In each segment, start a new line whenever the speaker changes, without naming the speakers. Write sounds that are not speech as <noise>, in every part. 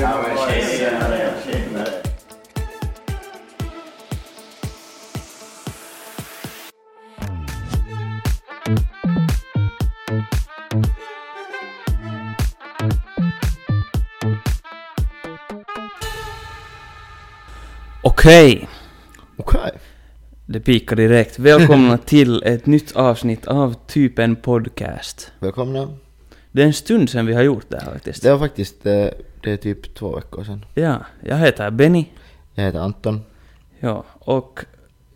Ja, men tjenare, tjenare.
Okej,
Okej.
det pikar direkt.
<laughs>
Välkomna till ett nytt avsnitt av typ en podcast.
Välkomna.
Det är en stund sedan vi har gjort det här faktiskt.
Det var faktiskt, eh, det är typ två veckor sedan.
Ja, jag heter Benny.
Jag heter Anton.
Ja, och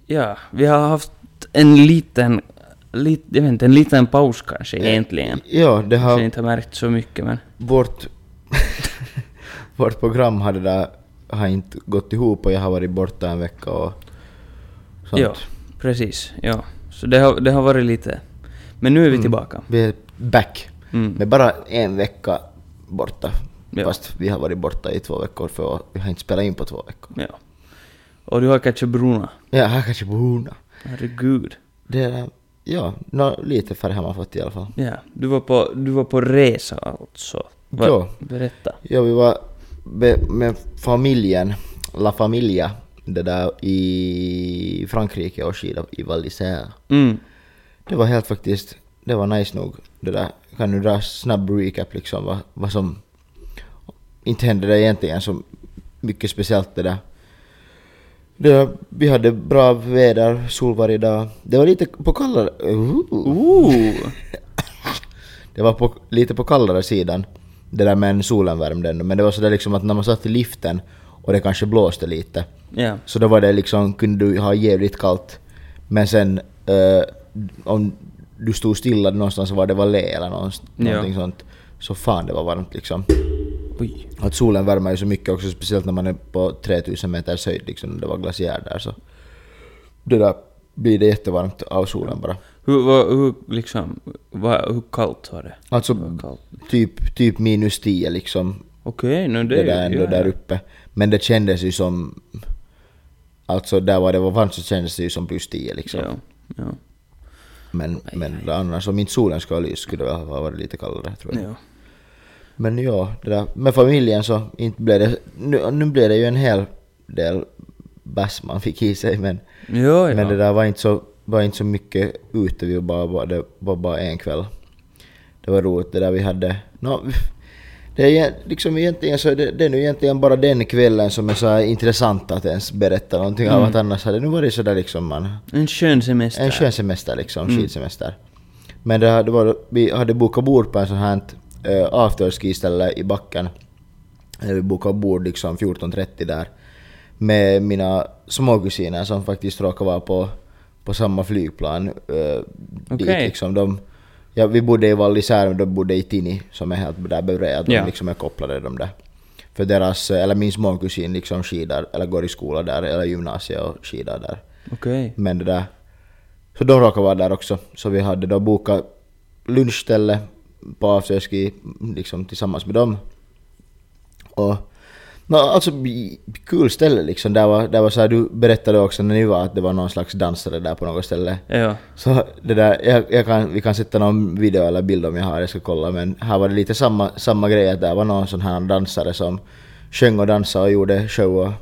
ja, vi har haft en liten, lit, jag vet inte, en liten paus kanske egentligen.
Eh, Ja, det
Så jag
har
inte har märkt så mycket men...
vårt, <laughs> vårt program har, det där, har inte gått ihop och jag har varit borta en vecka och sånt.
Ja, precis. Ja. Så det har, det har varit lite... Men nu är vi tillbaka.
Mm. Vi är back.
Mm.
Men bara en vecka borta.
Ja.
Fast vi har varit borta i två veckor för vi har inte spelat in på två veckor.
Ja. Och du har kanske Bruna.
Ja, här kanske på Hona.
Herregud.
Det är, ja, nå, lite färg har man fått i alla fall.
Ja, du var på, du var på resa alltså. Va-
Ja.
Berätta.
Ja, vi var be- med familjen, La Familia, det där i Frankrike och skida i Val d'Isère.
Mm.
Det var helt faktiskt, det var nice nog. Det där, kan du dra snabb recap liksom vad, vad som... Inte hände det egentligen så mycket speciellt det där. Det, vi hade bra väder, sol varje dag. Det var lite på kallare... Ooh.
Ooh.
Det var på, lite på kallare sidan, det där men solen värmde ändå. Men det var sådär liksom att när man satt i liften och det kanske blåste lite,
Ja.
så då var det liksom, kunde du ha jävligt kallt. Men sen eh, om du stod stilla någonstans var det valet eller någonst-
Ja.
någonting sånt, så fan det var varmt liksom.
Oj.
Att solen värmer ju så mycket också, speciellt när man är på 3000 meters höjd liksom, det var glaciär där så. Det där blir det jättevarmt av solen bara.
Hur, vad, hur, liksom, vad, hur kallt var det?
Alltså
Kallt.
typ, typ minus 10 liksom
Okej, nu det,
det
är
där,
ju-
ändå där uppe. Men det kändes ju som... Alltså där var det var varmt så kändes det ju som plus 10 liksom.
Ja, ja,
Men, men annars om inte solen skulle ha lyst skulle det ha varit lite kallare tror jag.
ja.
Men ja, det där, med familjen så inte blev det... Nu, nu blev det ju en hel del bärs man fick i sig men,
Ja, ja.
men det där var inte så, var inte så mycket ute, vi var bara, bara, det var bara en kväll. Det var roligt det där vi hade... nå det är egent- liksom egentligen så är det, det är nu egentligen bara den kvällen som är så här intressant att ens berätta någonting av
Mm.
att annars hade det nu varit sådär liksom man...
En skön semester. Mm.
En skön semester liksom, skidsemester. Men det, här- det var, vi hade bokat bord på en sån här uh, afterski-ställe i backen. Eh, Vi bokade bord liksom 14.30 där. Med mina småkusiner som faktiskt råkade vara på, på samma flygplan. eh, dit,
Okej.
liksom, de, ja, vi bodde i Val d'Isère och de bodde i Tini som är helt där bredvid. Att de
Ja.
liksom är kopplade de där. För deras, eh, eller min småkusin liksom skidar, eller går i skola där, eller gymnasiet och skidar där.
Okej.
Men det där... Så de råkade vara där också. Så vi hade då bokat lunchställe på afterski liksom tillsammans med dem. Och... nå alltså bi- kul ställe liksom. Där var, där var så här, du berättade också när ni var att det var någon slags dansare där på något ställe.
<laughs> Ja.
Så det där, jag, jag kan, vi kan sätta någon video eller bild om jag har, jag ska kolla men här var det lite samma, samma grej att där var någon sån här dansare som sjöng och dansade och gjorde show och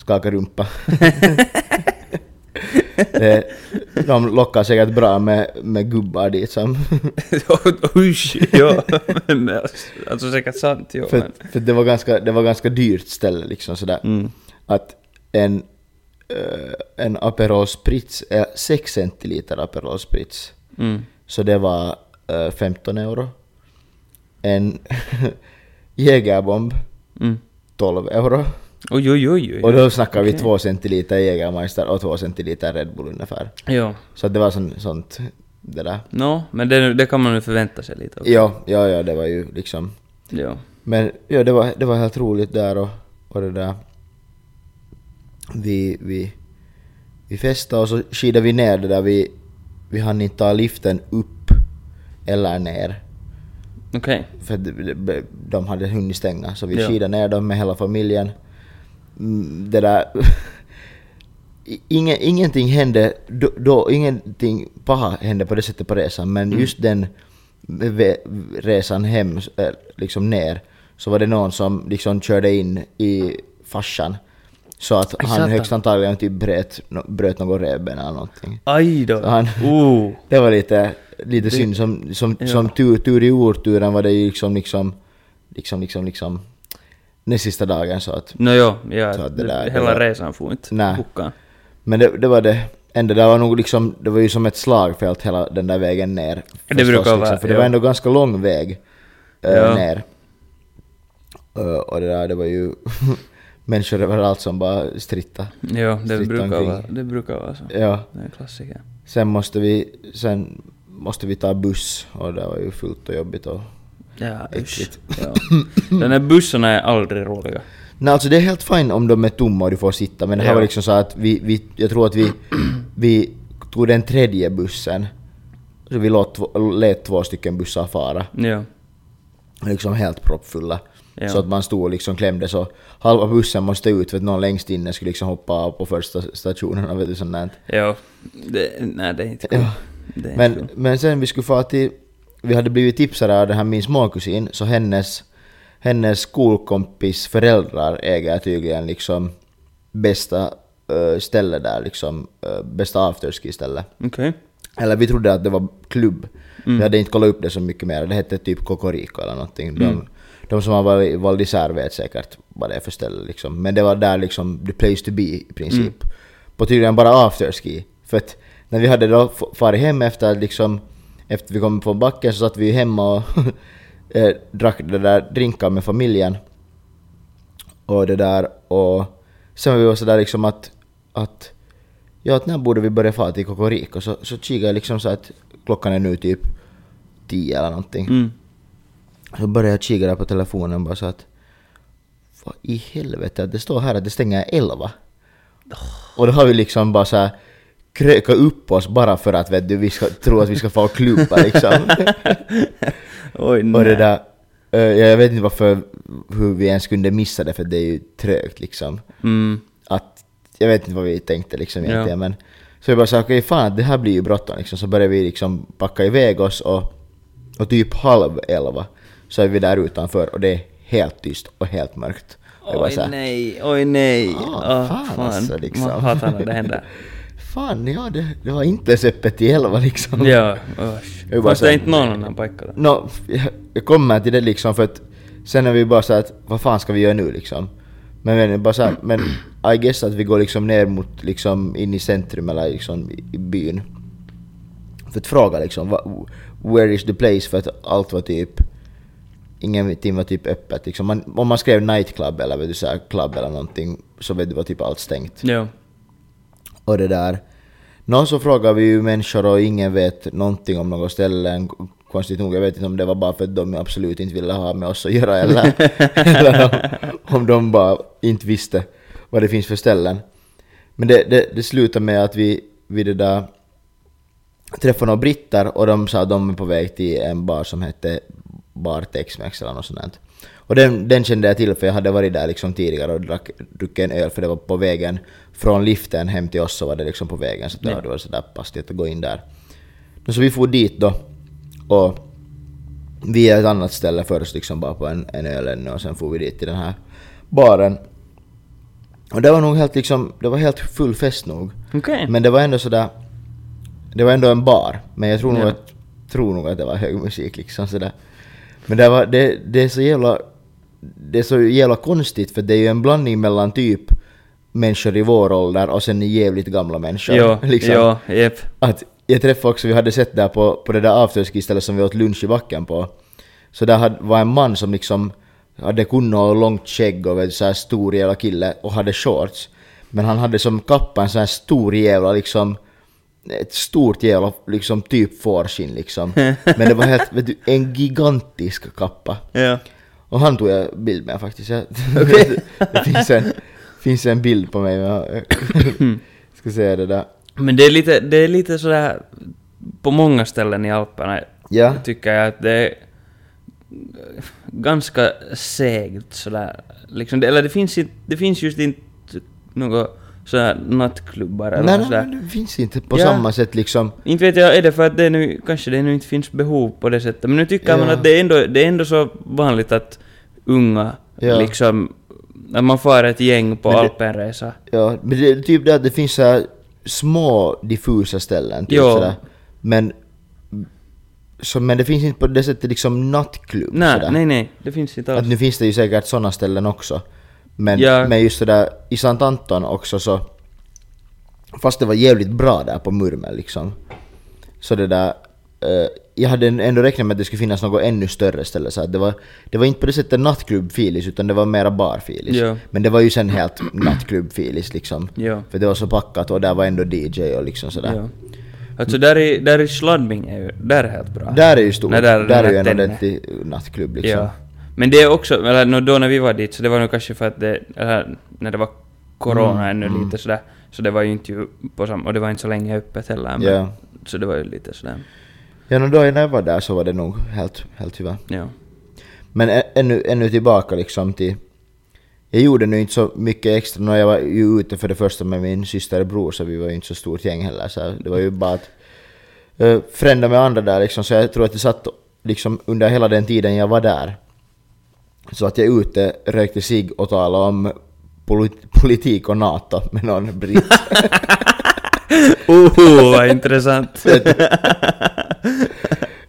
skakade rumpa. Eh, De lockar säkert bra med, med gubbar dit som...
Usch, ja. Men, alltså, alltså säkert sant, ja.
För,
men-
för det, var ganska, det var ganska dyrt ställe liksom sådär. Att en, eh, en Aperol Spritz är 6 centiliter Aperol Spritz.
Mm.
Så det var eh, 15 euro. En <laughs> jägarbomb
Mm.
12 euro.
Oj, oj, oj,
Och
oj.
då snackar vi
Okej.
2 centiliter Jägermeister och 2 centiliter Red Bull ungefär.
Ja.
Så det var sån, sånt det där.
Nå, men det, det kan man ju förvänta sig lite av.
Ja, ja, ja, det var ju liksom...
Ja.
Men ja, det var, det var helt roligt där och, och det där. Vi, vi, vi festade och så skidade vi ner det där. Vi, vi hann inte ta liften upp eller ner.
Okej.
För att de- de- de hade hunnit stänga. Så vi
Ja.
skidade ner dem med hela familjen. Mm, Det där... <laughs> I- Ingen, ingenting hände då, då, ingenting paha hände på det sättet på resan. Men just den ve- resan hem, eh, liksom ner, så var det någon som liksom körde in i farsan. Så att
Aj,
han
satan.
högst antagligen typ bröt, nå- bröt något revben eller någonting.
Aj då.
Så han-
Oh.
<laughs> Det var lite, lite synd. Som, som,
Ja.
som tur, tur i oturen var det ju liksom, liksom, liksom, liksom, liksom den sista dagen så att...
Nåjo, ja,
Så att det där-
hela
det-
resan får inte
Nej.
boka.
Men det, det var det enda. Det var nog liksom, det var ju som ett slagfält hela den där vägen ner. förstås, liksom,
brukar vara,
För det
ja.
var ändå ganska lång väg eh,
Ja.
ner. Eh, och det där, det var ju <laughs> människor överallt som bara stritta.
Ja, det
Stritta
brukar,
omkring.
vara, det brukar vara så.
Ja.
Det är en klassiker.
Sen måste vi, sen måste vi ta buss och det var ju fullt och jobbigt och...
Ja, usch.
Äckligt.
Ja. Den här bussarna är aldrig roliga.
Nej alltså det är helt fint om de är tomma och du får sitta men det här
Ja.
var liksom så att vi, vi, jag tror
<clears throat>
att vi, vi tog den tredje bussen. Så vi lät, två- lät två stycken bussar fara.
Ja.
liksom helt proppfulla.
Ja.
Så att man stod och liksom klämde så halva bussen måste ut för att någon längst inne skulle liksom hoppa av på första stationen <laughs> och vet du sånt där.
Ja. Det, nej, det är inte kul.
Ja.
Det är inte
Men,
kul.
men sen vi skulle fara till, vi hade blivit tipsade av den här min småkusin, så hennes, hennes skolkompis föräldrar äger tydligen liksom bästa uh, ställe där liksom, eh, bästa afterski ställe.
Okej.
Eller vi trodde att det var klubb. Vi hade inte kollat upp det så mycket mer. Det hette typ Kokoriko eller någonting. De, de som har varit i Val d'Isère vet säkert vad det är för ställe liksom. Men det var där liksom the place to be i princip. På tydligen bara afterski. För att när vi hade då f- farit hem efter att liksom, efter vi kom från backen så satt vi ju hemma och <laughs> eh, drack det där drinkar med familjen. Och det där och sen var vi var sådär liksom att, att ja att när borde vi börja fara till Kokoriko? Så, så kikade jag liksom så att klockan är nu typ 10 eller någonting.
Mm.
Så började jag kika där på telefonen bara så att vad i helvete att det står här att det stänger 11. Och då har vi liksom bara så här kröka upp oss bara för att vet du, vi ska tro att vi ska få och klubba liksom.
Oj,
Och
nej.
det där, eh, jag vet inte varför, hur vi ens kunde missa det för det är ju trögt liksom.
Mm.
Att, jag vet inte vad vi tänkte liksom
Ja.
egentligen men. Så vi bara sa okej fan det här blir ju bråttom liksom. Så började vi liksom packa iväg oss och, och typ halv elva så är vi där utanför och det är helt tyst och helt mörkt. Och jag bara så
Oj
här,
nej, oj nej.
Ah,
Ah,
fan alltså, liksom.
Man hatar när det händer.
<laughs> Fan ja det, det var inte ens öppet till elva liksom.
ja, usch.
Jag bara
Fanns det
säger-
inte någon annan pojke då?
Nå, jag- jag kommer till det liksom för att sen är vi bara så här att vad fan ska vi göra nu liksom? Men, men, bara så här, men I guess att vi går liksom ner mot liksom in i centrum eller liksom i, i byn. För att fråga liksom va, where is the place för att allt var typ Ingenting var typ öppet liksom. Man, om man skrev nightclub eller vet du, så här, club eller någonting så vet du, var typ allt stängt.
Ja.
Och det där. Nå, så frågar vi ju människor och ingen vet någonting om något ställe. Konstigt nog, jag vet inte om det var bara för att de absolut inte ville ha med oss att göra eller, eller om, om de bara inte visste vad det finns för ställen. Men det, det, det slutar med att vi, vi det där träffade några britter och de sa att de är på väg till en bar som hette Bar Tex-Mex eller något sånt där. Och den, den kände jag till för jag hade varit där liksom tidigare och drack, druckit en öl för det var på vägen från liften hem till oss så var det liksom på vägen så
Ja.
då, det var sådär passligt att gå in där. Men Så vi for dit då och vi är ett annat ställe först liksom bara på en, en öl ännu och sen for vi dit till den här baren. Och det var nog helt liksom, det var helt full fest nog.
Okej.
Men det var ändå sådär... Det var ändå en bar, men jag tror nog,
Ja.
att, tror nog att det var hög musik liksom sådär. Men det, var, det, det är så jävla... Det är så jävla konstigt för det är ju en blandning mellan typ människor i vår ålder och sen jävligt gamla människor.
Ja,
<laughs> liksom.
ja, jep.
Att jag träffade också, vi hade sett där på, på det där afterski-stället som vi åt lunch i backen på. Så där hade, var en man som liksom hade kunnat och långt skägg och en så här stor jävla kille och hade shorts. Men han hade som kappa en sån här stor jävla liksom ett stort jävla liksom typ fårskinn liksom. Men det var helt, vet du, en gigantisk kappa.
Ja.
Och han tog jag bild med faktiskt. Jag, <laughs> det finns en, finns en bild på mig. men jag- Ska säga det där.
Men det är lite, det är lite sådär på många ställen i Alperna
Ja.
tycker jag att det är ganska segt sådär. Liksom, det, eller det finns, inte- det finns just inte något så här nattklubbar eller
Nej,
något sådär.
nej, men det finns inte på
Ja.
samma sätt liksom.
Inte vet jag, är det för att det nu, kanske det nu inte finns behov på det sättet, men nu tycker man
Ja.
att det är, ändå, det är ändå så vanligt att unga
Ja.
liksom, när man far ett gäng på
Men det-
alpenresa.
Ja, men det är typ det att det finns så här små diffusa ställen. Typ
Ja.
sådär. Men, så, men det finns inte på det sättet liksom nattklubb.
Nej,
sådär.
nej, nej, det finns inte alls.
Att nu finns det ju säkert sådana ställen också. Men,
Ja.
men just det där i Sant Anton också så... Fast det var jävligt bra där på Murmel liksom. Så det där... Eh, jag hade ändå räknat med att det skulle finnas något ännu större ställe. Så att det, var, det var inte på det sättet nattklubb-filis utan det var mera bar-filis.
Ja.
Men det var ju sen helt nattklubb-filis liksom.
Ja.
För det var så packat och där var ändå DJ och liksom sådär.
Ja. Alltså där i, där i Sladdming är ju, där är helt bra.
Där är ju stort.
Nej,
där, är ju en
rätt inne.
ordentlig nattklubb liksom.
Ja. Men det är också, eller nå, då när vi var dit, så det var nog kanske för att det, eller, när det var
Mm,
corona ännu lite sådär, så det var ju inte ju på samma, och det var inte så länge öppet heller. Men,
Ja.
Så det var ju lite sådär,
Ja, no, då när jag var där så var det nog helt, helt hyvä. <laughs>
ja.
Men ä- ännu, ännu tillbaka liksom till... Jag gjorde nu inte så mycket extra, när jag var ju ute för det första med min syster och bror så vi var ju inte så stort gäng heller. Så det var ju bara att uh, frända med andra där liksom, så jag tror att det satt liksom under hela den tiden jag var där. Så att jag ute, rökte sig och talade om polit- politik och NATO med någon britt.
Oho, Oh, vad
<laughs>
intressant!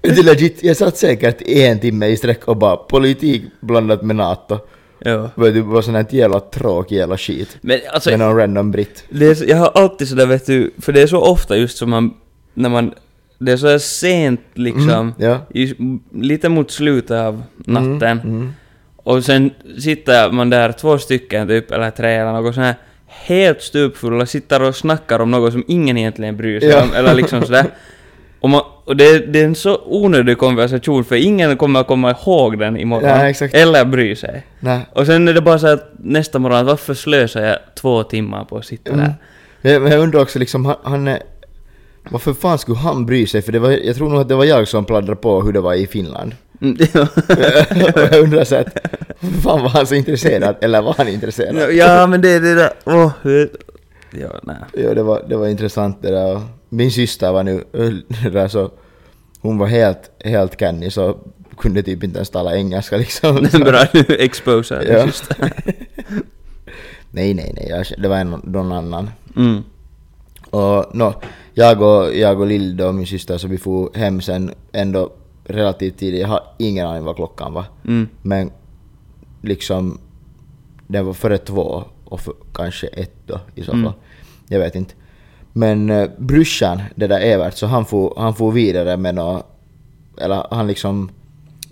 det är legit, jag satt säkert en timme i sträck och bara politik blandat med NATO.
ja.
Vet du, Det var typ sån här jävla tråkig jävla skit.
Men alltså,
med någon random britt.
det är, så- jag har alltid sådär vet du, för det är så ofta just som man, när man, det är sådär sent liksom,
Mm. ja. Mm.
i, lite mot slutet av natten. Och sen sitter man där två stycken typ, eller tre eller något sånt här, helt stupfulla, sitter och snackar om något som ingen egentligen bryr sig
Ja.
om, eller liksom
<laughs>
sådär. Och, man, och det, det är en så onödig konversation, för ingen kommer att komma ihåg den imorgon.
Ja, exakt.
Eller bry sig.
Nej.
Och sen är det bara så att nästa morgon, varför slösar jag två timmar på att sitta där?
Mm. Jag, men jag undrar också liksom, han, han... eh, Varför fan skulle han bry sig? För det var, jag tror nog att det var jag som pladdrade på hur det var
<laughs>
i Finland.
Mm,
<laughs>
ja.
och jag undrar så att, varför fan var han så intresserad? Eller var han intresserad?
ja, men det är det där... Åh, hur- ja, nej.
Ja, det var, det var intressant det där. Min syster var nu <laughs> det där så... Hon var helt, helt canny så kunde typ inte ens tala
<laughs>
engelska liksom.
Bra, nu exposar
Ja.
jag just.
<laughs> nej, nej, nej. Jag, det var en, någon annan.
Mm.
Och nå, jag och, jag och Lill då, min syster, så vi for hem sen ändå relativt tidigt. Jag har ingen aning vad klockan var.
Mm.
Men liksom, det var före två och för, kanske ett då i
Mm.
så fall. Jag vet inte. Men eh, brorsan, det där Evert, så han for, han for vidare med nå, eller han liksom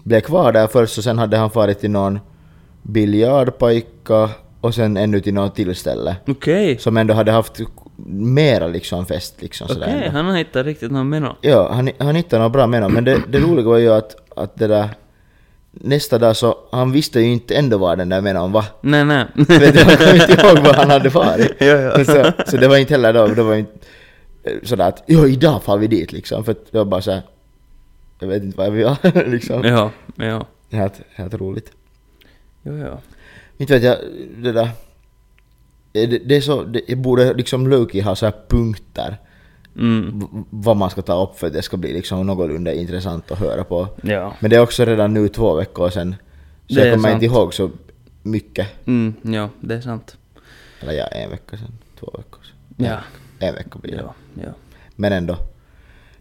blev kvar där först och sen hade han farit till någon biljardpajka och sen ännu till något tillställe.
Okej.
Som ändå hade haft mera liksom fest liksom sådär.
Okej, han har hittat riktigt någon meno.
Ja, han, han hittade något bra med honom. Men det, det roliga var ju att, att det där... Nästa dag så, han visste ju inte ändå var den där
<laughs>
menon var.
Nej,
<laughs>
nej.
Vet du, han kom inte ihåg var han hade farit.
<laughs> Ja, ja.
Så, så det var inte heller då, det var inte eh, sådär att ja, idag far vi dit liksom. För att det var bara såhär, jag vet inte vad vi var <laughs> liksom.
ja, ja.
Helt, helt roligt.
Jo, ja.
Inte vet jag, det där... Det, det är så, det, jag borde liksom Loki ha så här punkter.
Mm.
v- vad man ska ta upp för att det ska bli liksom någorlunda intressant att höra på.
Ja.
Men det är också redan nu två veckor sedan. Så
Det är
jag kommer
sant.
inte ihåg så mycket.
Mm, ja, det är sant.
Eller ja, en vecka sedan. Två veckor sedan.
Ja.
En vecka blir det.
Ja, ja.
Men ändå.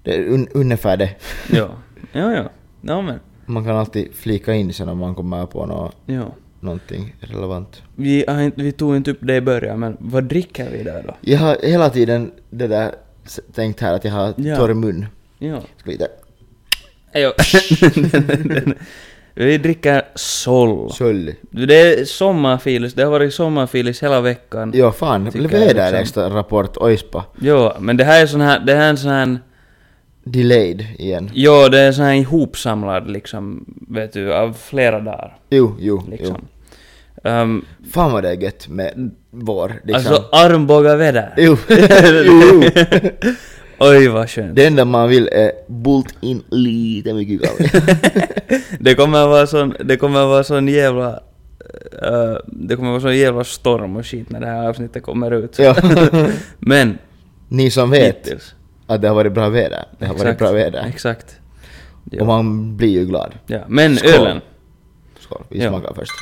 Det är un- ungefär det.
Ja, ja. Ja, ja men.
Man kan alltid flika in sen om man kommer på nå
Ja.
någonting relevant.
Vi, har inte- vi tog inte upp det i början, men vad dricker vi där då?
Jag har hela tiden det där s- tänkt här att jag har
Ja.
torr mun.
Ja.
Ska vi ta-
<laughs> Jo. vi dricker Sol.
Sölj.
Det är sommarfilis, det har varit sommarfilis hela veckan.
Ja fan,
Tycker jag
levererar
liksom.
extra rapport. Oispa.
Jo, men det här är sån här, det här är en sån här
Delayed igen.
Jo, det är sån här ihopsamlad liksom, vet du, av flera dagar.
Jo, jo, jo.
Liksom. Ehm,
Fan vad det är gött med vår. Liksom.
alltså armbågaväder. <laughs>
jo. jo, jo.
Oj vad skönt.
Det enda man vill är bult in
<laughs>
lite mycket galla.
Det kommer vara sån, det kommer vara sån jävla eh, det kommer vara så jävla storm och skit när det här avsnittet kommer ut.
Ja.
<laughs> Men,
Ni som vet
hittills.
att det har varit bra väder. Det har varit
Exakt.
bra väder.
Exakt.
Och
Ja.
man blir ju glad.
Ja. Men
Skål.
ölen.
Skål, vi
Ja.
smakar först.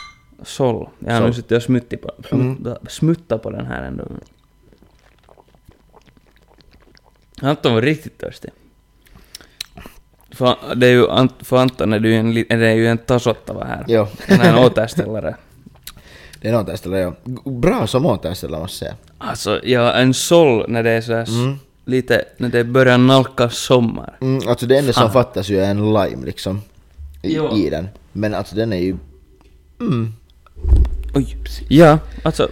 Sol. Mm. Jag har
Sol.
nu suttit och smuttit på, smutta, smuttat på den här ändå. Anton var riktigt törstig. För, det är ju, Ant- för Anton är det ju en, li- det är ju en tasottava här.
Ja.
En här återställare.
Det är en återställare, ja. G- Bra som återställare måste jag säga.
Alltså, ja, en sol när det är så här s- lite, när det börjar nalkas sommar.
Mm, alltså det enda
Fan.
som fattas ju är en lime liksom. I,
Jo.
i den. Men alltså den är ju...
Oj. Ja, alltså,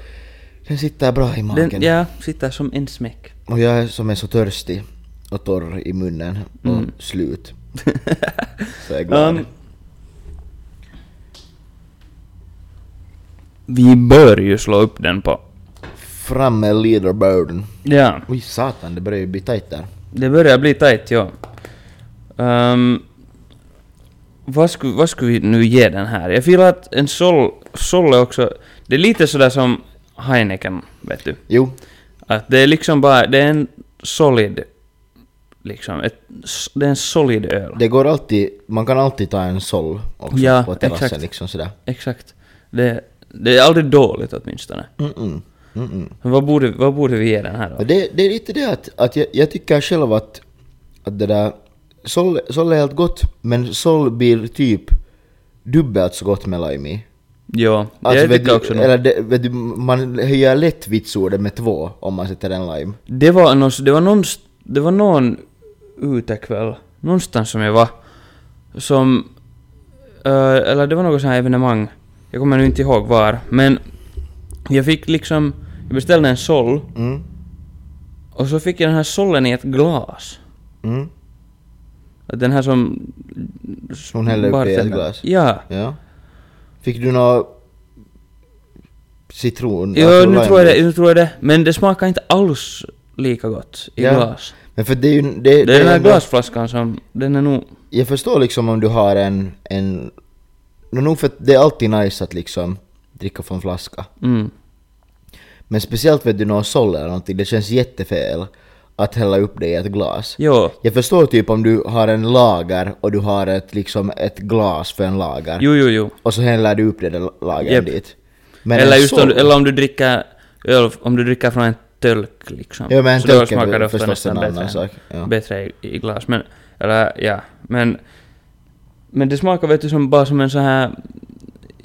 Den sitter bra i magen.
den, ja, sitter som en smäck.
Och jag är som är så törstig och torr i munnen och
Mm. <laughs>
slut. Så jag är glad.
Um, vi bör ju slå upp den på...
Fram med leaderboarden.
Ja,
Oj satan, det börjar ju bli tight där.
det börjar bli tight, ja. Ehm, vad, skulle, vad skulle vi nu ge den här? Jag gillar att en sol, sol är också... Det är lite sådär som Heineken, vet du.
Jo,
Att det är liksom bara... Det är en solid... Liksom, ett, s- det är en solid öl.
det går alltid, man kan alltid ta en sol också
Ja,
på terrassen
exakt.
liksom sådär.
Exakt. Det, det är aldrig dåligt åtminstone.
Mm-mm. Mm-mm.
Vad borde, vad borde vi ge den här då?
Och Det, det är lite det att, att jag, jag tycker själv att, att det där, sol, sol är helt gott men sol blir typ dubbelt så gott med lime i.
Ja,
Alltså,
jag
vet
tycker
du,
också nog-
eller det, vet du, man höjer lätt vitsordet med två om man sätter en lime.
Det var, någon, det, var någon, det var någon utekväll, någonstans som jag var, som... eh, eller det var något sånt här evenemang, jag kommer nu inte ihåg var, men jag fick liksom... Jag beställde en sol
Mm.
och så fick jag den här sollen i ett glas.
Mm.
Att Den här som...
Hon hällde upp i ett
bartendern-
glas.
Ja.
Ja. Fick du nå citron?
Jo,
alltså
nu
lime?
tror, jag det, nu tror jag det. Men det smakar inte alls lika gott i
Ja.
glas.
Men för det är ju... Det,
Det är den här
ändå-
glasflaskan som... Den är nog...
Jag förstår liksom om du har en... en nå, nog för att det är alltid nice att liksom dricka från flaska.
Mm.
Men speciellt vet du någon sol eller någonting, det känns jättefel att hälla upp det i ett glas.
Jo.
Jag förstår typ om du har en lager och du har ett, liksom ett glas för en lager.
Jo, jo, jo.
Och så häller du upp det där lagern
Japp.
dit. Men
eller,
en
just om,
sol-
du- eller om du dricker öl, om du dricker från en tölk liksom.
Ja men
Så då
tölk
smakar
är
det
väl
ofta
förstås
nästan
en
bättre,
annan
än-
sak. Ja.
bättre i, i glas. Men, eller ja, men... Men det smakar vet du som, bara som en sån här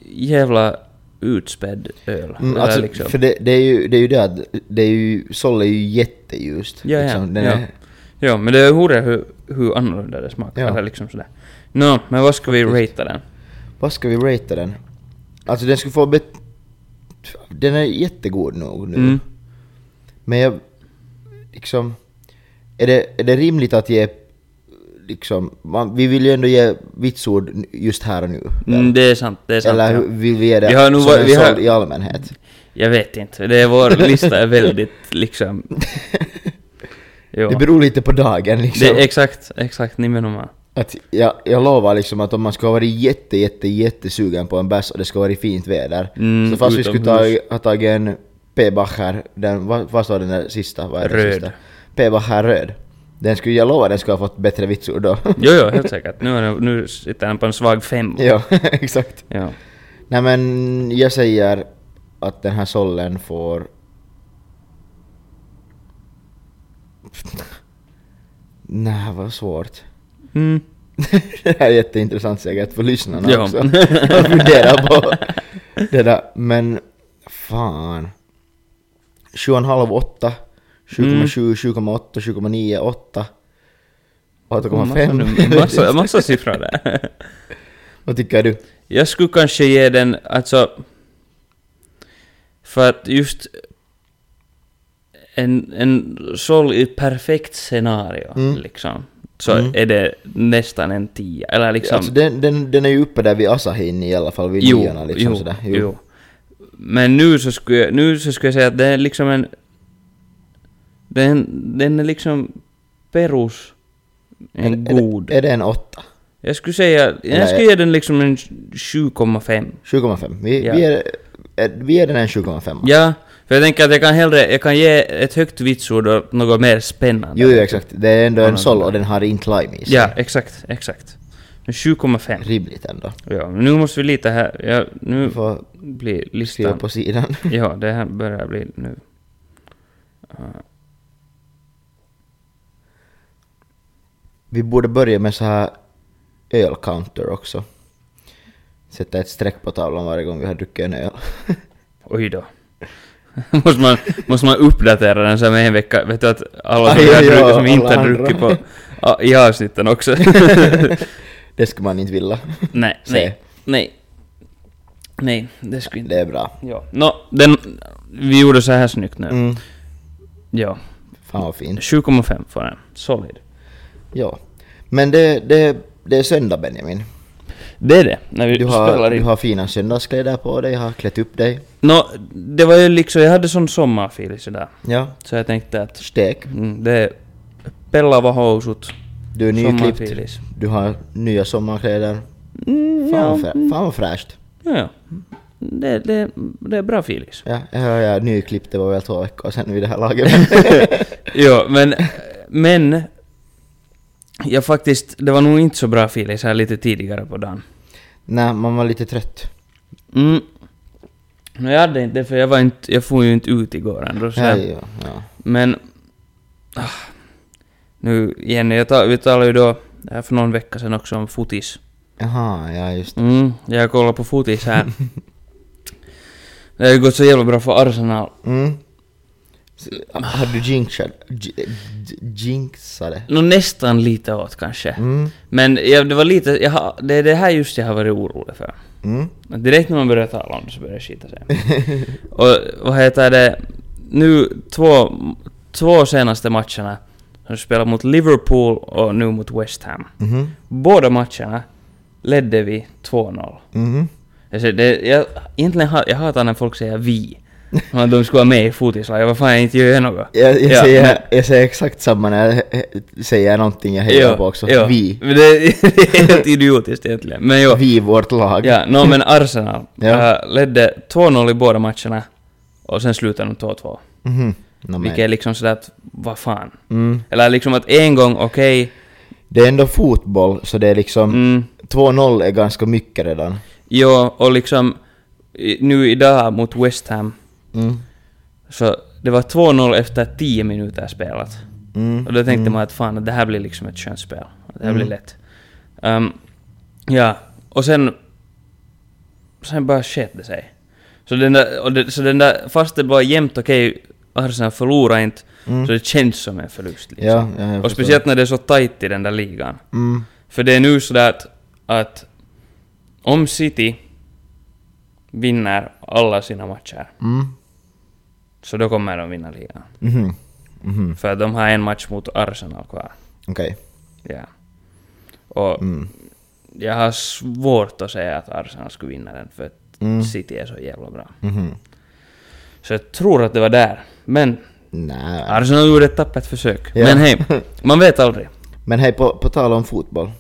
jävla utspädd öl.
Mm,
Eller
alltså,
liksom.
För det, det, är ju, det är ju det att det är ju, sol är ju jätteljust.
Ja,
liksom.
ja,
Den
ja.
är-
ja, men det är hurra hur, hur annorlunda det smakar.
Ja.
Eller liksom sådär. Nå, men vad ska vi ratea den?
Vad ska vi ratea den? Alltså den skulle få bet... Den är jättegod nog nu.
Mm.
Men jag... Liksom... Är det, är det rimligt att ge... Liksom, man, vi vill ju ändå ge vitsord just här och nu.
Mm, det är sant, det är sant.
Eller
ja.
hur vill vi ge det
Vi har nog
som
varit-
en
vi har-
såld i allmänhet?
Jag vet inte, det är vår
<laughs>
lista är väldigt liksom... Jo.
Det beror lite på dagen liksom.
Det, exakt, exakt, nimenomaan.
Att jag, jag lovar liksom att om man skulle ha varit jätte, jätte, jättesugen på en bärs och det skulle ha varit fint väder.
Mm,
så fast vi skulle
utomhus.
ta, ha tagit en P. Bacher, den, vad, vad står den där sista? Vad är den
Röd.
Sista? P. Bacher röd. Den skulle, jag lovar den skulle ha fått bättre vitsord då.
Jo, jo, helt säkert. Nu, är det, nu sitter den på en svag femma.
<laughs> ja, <laughs> exakt.
Ja.
Nej men jag säger att den här sollen får... <laughs> Nej, vad svårt. <laughs>
Mm.
det här är jätteintressant säkert för lyssnarna
Ja. <laughs>
också. Att fundera på det där. Men fan. 7,5, 8, 7,7,
Mm.
7,8, 7,9, 8,
Massa,
8,5.
num- massa, massa siffror där.
<laughs> Vad tycker du?
Jag skulle kanske ge den, alltså... För att just... En, en sol i perfekt scenario,
Mm.
liksom. Så
Mm.
är det nästan en tia, eller liksom...
Alltså den, den, den är ju uppe där vid Asahin i alla fall, vid niorna liksom sådär. Jo.
Men nu så, skulle jag, nu så skulle jag säga att det är liksom en... Den, den är liksom perus... En,
Är det-
god...
Är det en åtta?
Jag skulle säga, jag skulle ge den liksom en 7,5.
7,5. Vi,
Ja.
vi, är, eh, vi ger den en 7,5.
Ja, för jag tänker att jag kan hellre, jag kan ge ett högt vitsord och något mer spännande.
Jo, jo, exakt. Det är ändå en sol och den har inte lime i sig.
Ja, exakt, exakt. Men 7,5.
Rimligt ändå.
Ja, men nu måste vi lite här, ja, nu
Vi får
blir
skriva
listan...
på sidan.
Ja, det här börjar bli nu. Ja.
Vi borde börja med så här ölcounter också. Sätta ett streck på tavlan varje gång vi har druckit en öl.
Oj då. <laughs> måste, man, måste man uppdatera den så här med en vecka? Vet du att alla som,
Aj,
har
aj,
druckit,
aj,
som inte
alla
har
andra.
druckit
<laughs>
på ja, i avsnitten också?
det skulle man inte vilja.
nej,
Se.
nej, nej. Nej, det skulle inte...
Det är bra.
Ja. Nå, den... Vi gjorde så här snyggt nu.
Mm.
Ja.
Fan vad fint.
7,5 får den. Solid.
Ja. Men det, det, det är söndag Benjamin.
Det är det, när vi
Du
spelar
har,
in.
du har fina söndagskläder på dig, har klätt upp dig.
Nå, det var ju liksom, jag hade sån sommarfeeling sådär.
Ja.
Så jag tänkte att
Stek.
mm, det är pellava housut.
Du är nyklippt.
Sommarfilis.
Du har nya sommarkläder.
Mm,
Fan,
ja,
vad, frä- fan vad fräscht.
ja, ja. Det, det, det är bra feelings.
Ja, jag hör jag är nyklippt, det var väl två veckor sedan vid det här laget.
jo, men, men jag faktiskt, det var nog inte så bra feelings här lite tidigare på dagen.
Nej, man var lite trött.
Mm. Men jag hade inte det för jag var inte, jag får ju inte ut igår ändå. Så
Ja, ja, ja.
Men... ah, Nu Jenny, jag ta, vi talade ju då här för någon vecka sedan också om fotis.
Jaha, ja just
Mm, jag kollar på fotis här. det har ju gått så jävla bra för Arsenal.
mm. S- Har du jinxat? j- j- Jinxade?
Nå nästan lite åt kanske.
Mm.
Men jag, det var lite, jag, har- det är det här just jag har varit orolig för.
Mm.
Att Direkt när man börjar tala om det så börjar det skita
<laughs>
sig. Och vad heter det? Nu två, två senaste matcherna. Som spelar mot Liverpool och nu mot West Ham.
Mhm.
Båda matcherna ledde vi 2-0.
Mhm.
Alltså det, jag, egentligen ha, jag hatar när folk säger vi. Som att de skulle vara med i fotislaget, vad fan jag inte gör jag något.
Jag, jag,
Ja, men-
säger, jag säger exakt samma när jag eh, säger någonting jag hejar på också.
ja.
Vi.
Men det, det är helt idiotiskt egentligen. Men jo.
Vi, vårt lag.
Ja, no, men Arsenal
<laughs> Ja.
äh, ledde 2-0 i båda matcherna och sen slutade de 2-2.
Mhm. Nå, men.
Vilket är liksom sådär att, vad fan.
Mm.
Eller liksom att en gång, okej,
Det är ändå fotboll, så det är liksom...
mm,
2-0 är ganska mycket redan.
jo, och liksom i- nu idag mot West Ham
Mm.
Så det var 2-0 efter 10 minuter spelat.
Mm. Mm.
Och då tänkte man att fan, det här blir liksom ett könsspel. Det här blir lätt. Ehm, ja, och sen... Sen bara sket det sig. Så den där, och det, så den där fast det var jämnt, okej, Arsenal förlorar inte, så det känns som en förlust. Liksom.
Mm. Ja, ja, jag
och
förstår.
speciellt när det är så tajt i den där ligan.
Mm.
För det är nu sådär att, att om City vinner alla sina matcher,
Mm.
så då kommer de vinna ligan.
Mhm. Mhm.
För de har en match mot Arsenal kvar.
Okej.
Ja. Och
Mm.
jag har svårt att säga att Arsenal skulle vinna den för att City är så jävla bra.
Mm. Mhm.
Så jag tror att det var där. Men
Nej.
Arsenal gjorde ett tappert försök.
Ja.
Men
<laughs>
hej, man vet aldrig.
Men hej, på, på tal om fotboll.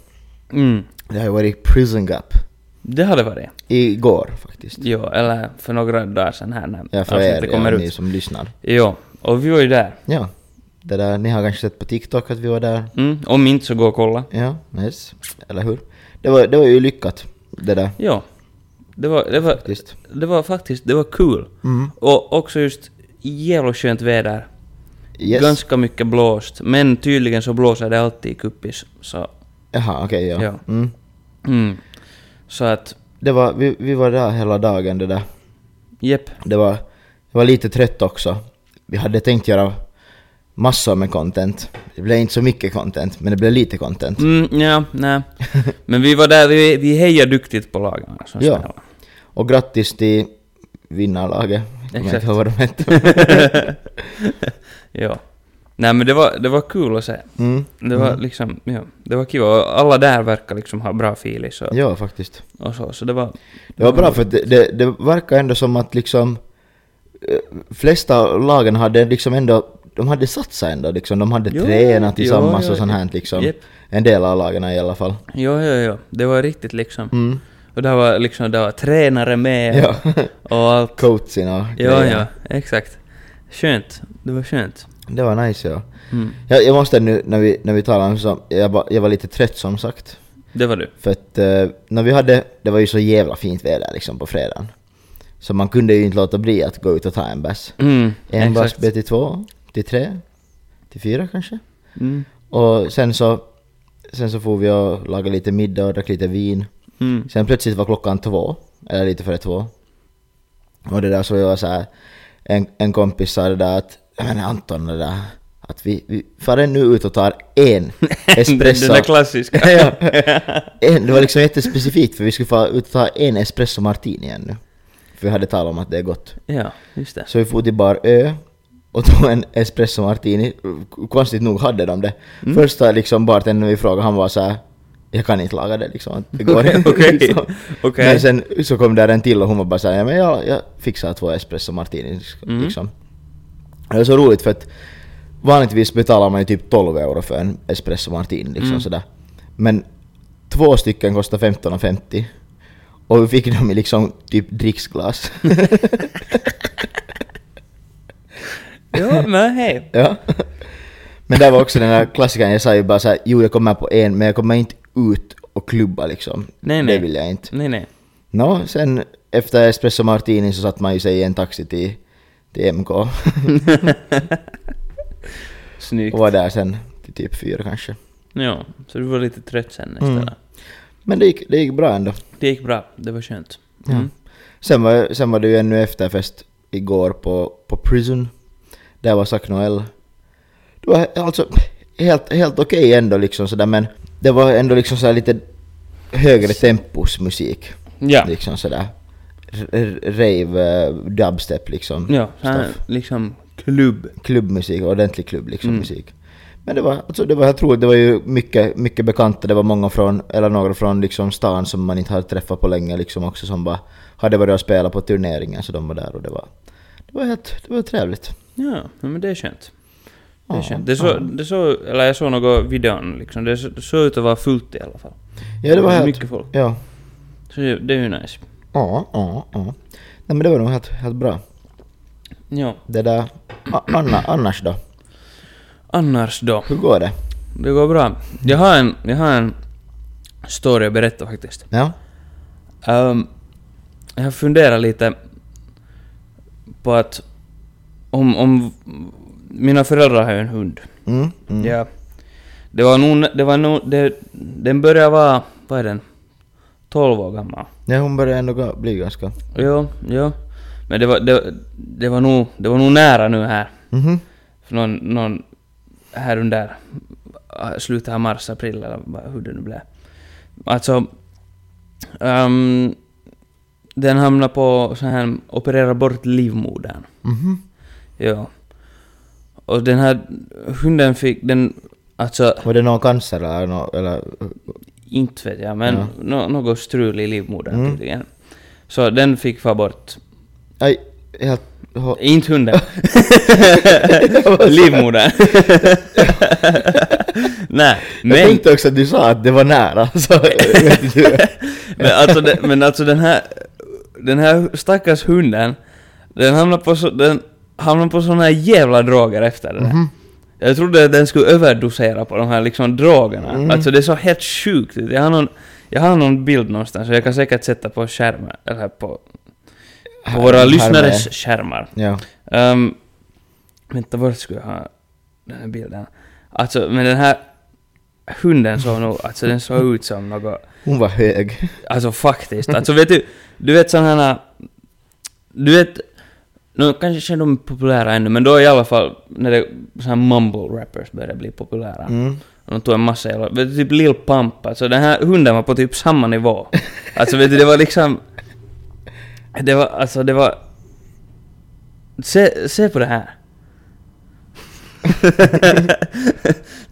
Mm.
Det har ju varit prison gap.
Det hade varit.
Igår faktiskt.
Jo, eller för några dagar sedan här när
Ja, för
avsnittet
er,
kommer
ja, ni
ut.
som lyssnar.
Jo, och vi var ju där.
Ja. Det där, ni har kanske sett på TikTok att vi var där.
Mm. Om inte så gå och kolla.
Ja, yes. Eller hur? Det var, det var ju lyckat, det där.
Jo. Det var, det var,
Faktiskt.
det var faktiskt, det var kul.
Mm.
Och också just jävla skönt väder.
Yes.
Ganska mycket blåst, men tydligen så blåser det alltid i kuppis. Så,
Jaha, okej, ja.
Ja.
Mm.
mm. så att,
Det var, vi, vi var där hela dagen, det där.
jepp.
Det var, jag var lite trött också. Vi hade tänkt göra massor med content. Det blev inte så mycket content, men det blev lite content.
Mm, ja,
<laughs>
nej. Men vi var där, vi, vi hejar duktigt på alltså, lagarna som
Ja.
spelar.
Och grattis till vinnarlaget. Jag kommer
Exakt.
inte ihåg vad de hette.
<laughs> ja. Nej men det var, det var kul att se.
Mm.
Det var liksom, ja, det var kiva. Och alla där verkar liksom ha bra feeling och,
Ja, faktiskt.
och så, så det var...
Det var bra för att det, det, det verkar ändå som att liksom eh, flesta lagen hade liksom ändå de hade satsat ändå liksom, de hade
Jo,
tränat
jo,
tillsammans
jo,
och sånt
jo.
här liksom.
Japp.
En del av lagen i alla fall.
Jo, jo, jo. Det var riktigt liksom.
Mm.
Och där var liksom, där var tränare med
Ja. <laughs>
och allt.
Coacherna och
Jo,
grejerna.
jo, exakt. Skönt. Det var skönt.
Det var nice ja.
Mm.
Jag, jag måste nu när vi, när vi talar om så, jag, var- jag var lite trött som sagt.
Det var du.
För att eh, när vi hade, det var ju så jävla fint väder liksom på fredagen. Så man kunde ju inte låta bli att gå ut och ta en bärs.
Mm,
En bärs
exakt.
blev till två, till tre, till fyra kanske.
Mm.
Och sen så, sen så får vi och lagade lite middag och drack lite vin.
Mm.
Sen plötsligt var klockan två, eller lite före två. Och det där så jag var så här, en, en kompis sa det där att, men Anton det där, att vi, vi far nu ut och tar
<laughs>
en <laughs> espresso.
Den där klassiska.
<laughs> ja. en, det var liksom jättespecifikt för vi skulle få ut och ta en espresso martini ännu. För vi hade talat om att det är gott.
Ja, just det.
Så vi for till Bar Ö och tog en espresso martini. Konstigt nog hade de det.
Mm.
Första liksom bartendern vi frågade, han var så här. Jag kan inte laga det liksom.
<laughs>
Det går inte.
Okej,
liksom.
okej.
Men sen så kom där en till och hon var bara såhär, ja men jag, jag fixar två espresso martini
Mm.
liksom. Det är så roligt för att vanligtvis betalar man ju typ 12 euro för en espresso martini liksom
Mm.
sådär. Men två stycken kostar 15,50 och vi fick dem i liksom typ dricksglas.
Jo, men hej.
Ja. Men det var också den här klassikern, jag sa ju bara såhär, jo jag kommer på en, men jag kommer inte ut och klubba liksom.
Nej,
Det
nej.
vill jag inte.
Nej, nej.
Nå, sen efter espresso martini så satt man ju sig i en taxi till, till MK.
Snyggt.
och var där sen till typ fyra kanske.
Ja, så du var lite trött sen istället.
Mm. Men det gick, det gick bra ändå.
Det gick bra. Det var skönt.
Ja.
Mm.
Sen var, sen var det ju ännu efterfest igår på, på Prison. Där var Zack Noel. Det var alltså helt, helt okej ändå liksom sådär men det var ändå liksom sådär lite högre tempos musik.
Ja.
Liksom sådär. R- r- Rave, eh, dubstep liksom.
Ja, så här,
Stuff.
liksom klubb.
Klubbmusik, ordentlig klubb liksom
Mm.
musik. Men det var, alltså det var helt roligt, det var ju mycket, mycket bekanta, det var många från, eller några från liksom stan som man inte hade träffat på länge liksom också som bara hade varit och spelat på turneringar så de var där och det var, det var helt, det var trevligt.
Ja, ja, men det är skönt. Det är
Ja,
skönt. Det så, det så, eller jag såg något videon liksom. Det så- det såg ut att vara fullt i alla fall.
Ja det var helt,
Mycket folk.
ja,
Så det, det är ju nice.
ja, ja, ja. Nej men det var nog helt, helt bra.
Ja.
Det där, a- anna, annars då?
Annars då?
Hur går det?
Det går bra. Jag har en, jag har en story att berätta faktiskt.
Ja?
Ehm, jag funderar lite på att om, om mina föräldrar har ju en hund.
Mm, mm.
Ja. Det var nog, det var nog, det, den började vara, vad är den? 12 år gammal.
Ja hon börjar ändå gå- bli ganska...
Jo, jo. Men det var, det, det var nog, det var nog nära nu här.
Mhm.
För någon, någon här under äh, slutet av mars, april eller vad- hur det nu blev. Alltså, ehm, den hamnade på så här, operera bort livmodern.
Mhm.
Ja. Och den här hunden fick, den, alltså,
Var det någon cancer eller, nå- eller
inte vet jag, men
Ja.
nå- något strul i livmodern
Mm.
tydligen. Så den fick vara bort.
Aj, helt... hå-
Inte
<laughs>
hunden. Livmodern. Nej,
Jag
men...
tänkte också att du sa att det var nära,
<laughs>
så jag vet inte hur.
Men alltså, den, men alltså den här... Den här stackars hunden, den hamnade på, så, den hamnade på såna här jävla droger efter det där.
Mhm.
Jag trodde att den skulle överdosera på de här liksom drogerna.
Mm.
Alltså det såg helt sjukt ut. Jag har någon, jag har någon bild någonstans så jag kan säkert sätta på skärmen, eller på, på våra
Här-
lyssnares
här
skärmar.
med. Ja.
Um, vänta, vart skulle jag ha den här bilden? Alltså, men den här hunden såg nog, alltså den såg ut som något,
Hon var hög.
alltså faktiskt. Alltså vet du, du vet sådana här, du vet, nu kanske är de populära ännu, men då i alla fall när det, så här mumble rappers började bli populära.
Mm.
Och De tog en massa jävla, vet du, typ Lil Pump, alltså den här hunden var på typ samma nivå. Alltså vet du, det var liksom... Det var, alltså det var... Se, se på det här.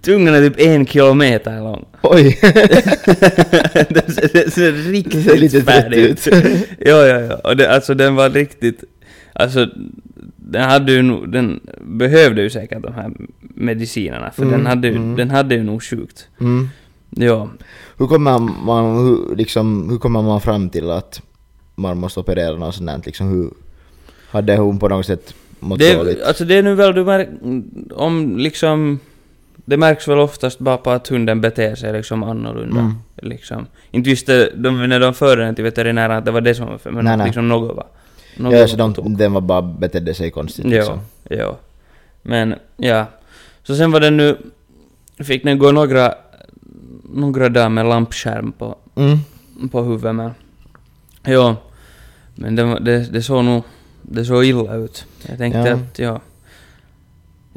Tungan är typ en kilometer lång. <laughs>
Oj!
den ser, den ser
Det ser lite
riktigt
trött
färdig ut.
ut.
ja, ja, ja. Och det, alltså den var riktigt... Alltså, den hade ju nog, den behövde ju säkert de här medicinerna, för den, hade ju, den hade ju nog sjukt.
Mm.
Ja.
Hur kommer man, hur, liksom, hur kommer man fram till att man måste operera något sånt där? Liksom, hur, hade hon på något sätt mått dåligt?
Det, alltså det är nu väl du märk, om liksom... Det märks väl oftast bara på att hunden beter sig liksom annorlunda.
Mm.
Liksom. Inte visste de när de förde den till veterinären att det var det som var fel, men
Nej, nej.
liksom något var... något
Ja, så
var på tok.
de, den var bara betedde sig konstigt liksom.
Ja, ja. Men, ja. Så sen var den nu... Fick den gå några... Några dagar med lampskärm på,
Mm.
på huvudet men... Ja. Men det, var- det, det såg nog... Det såg illa ut. Jag tänkte
Ja.
att, ja...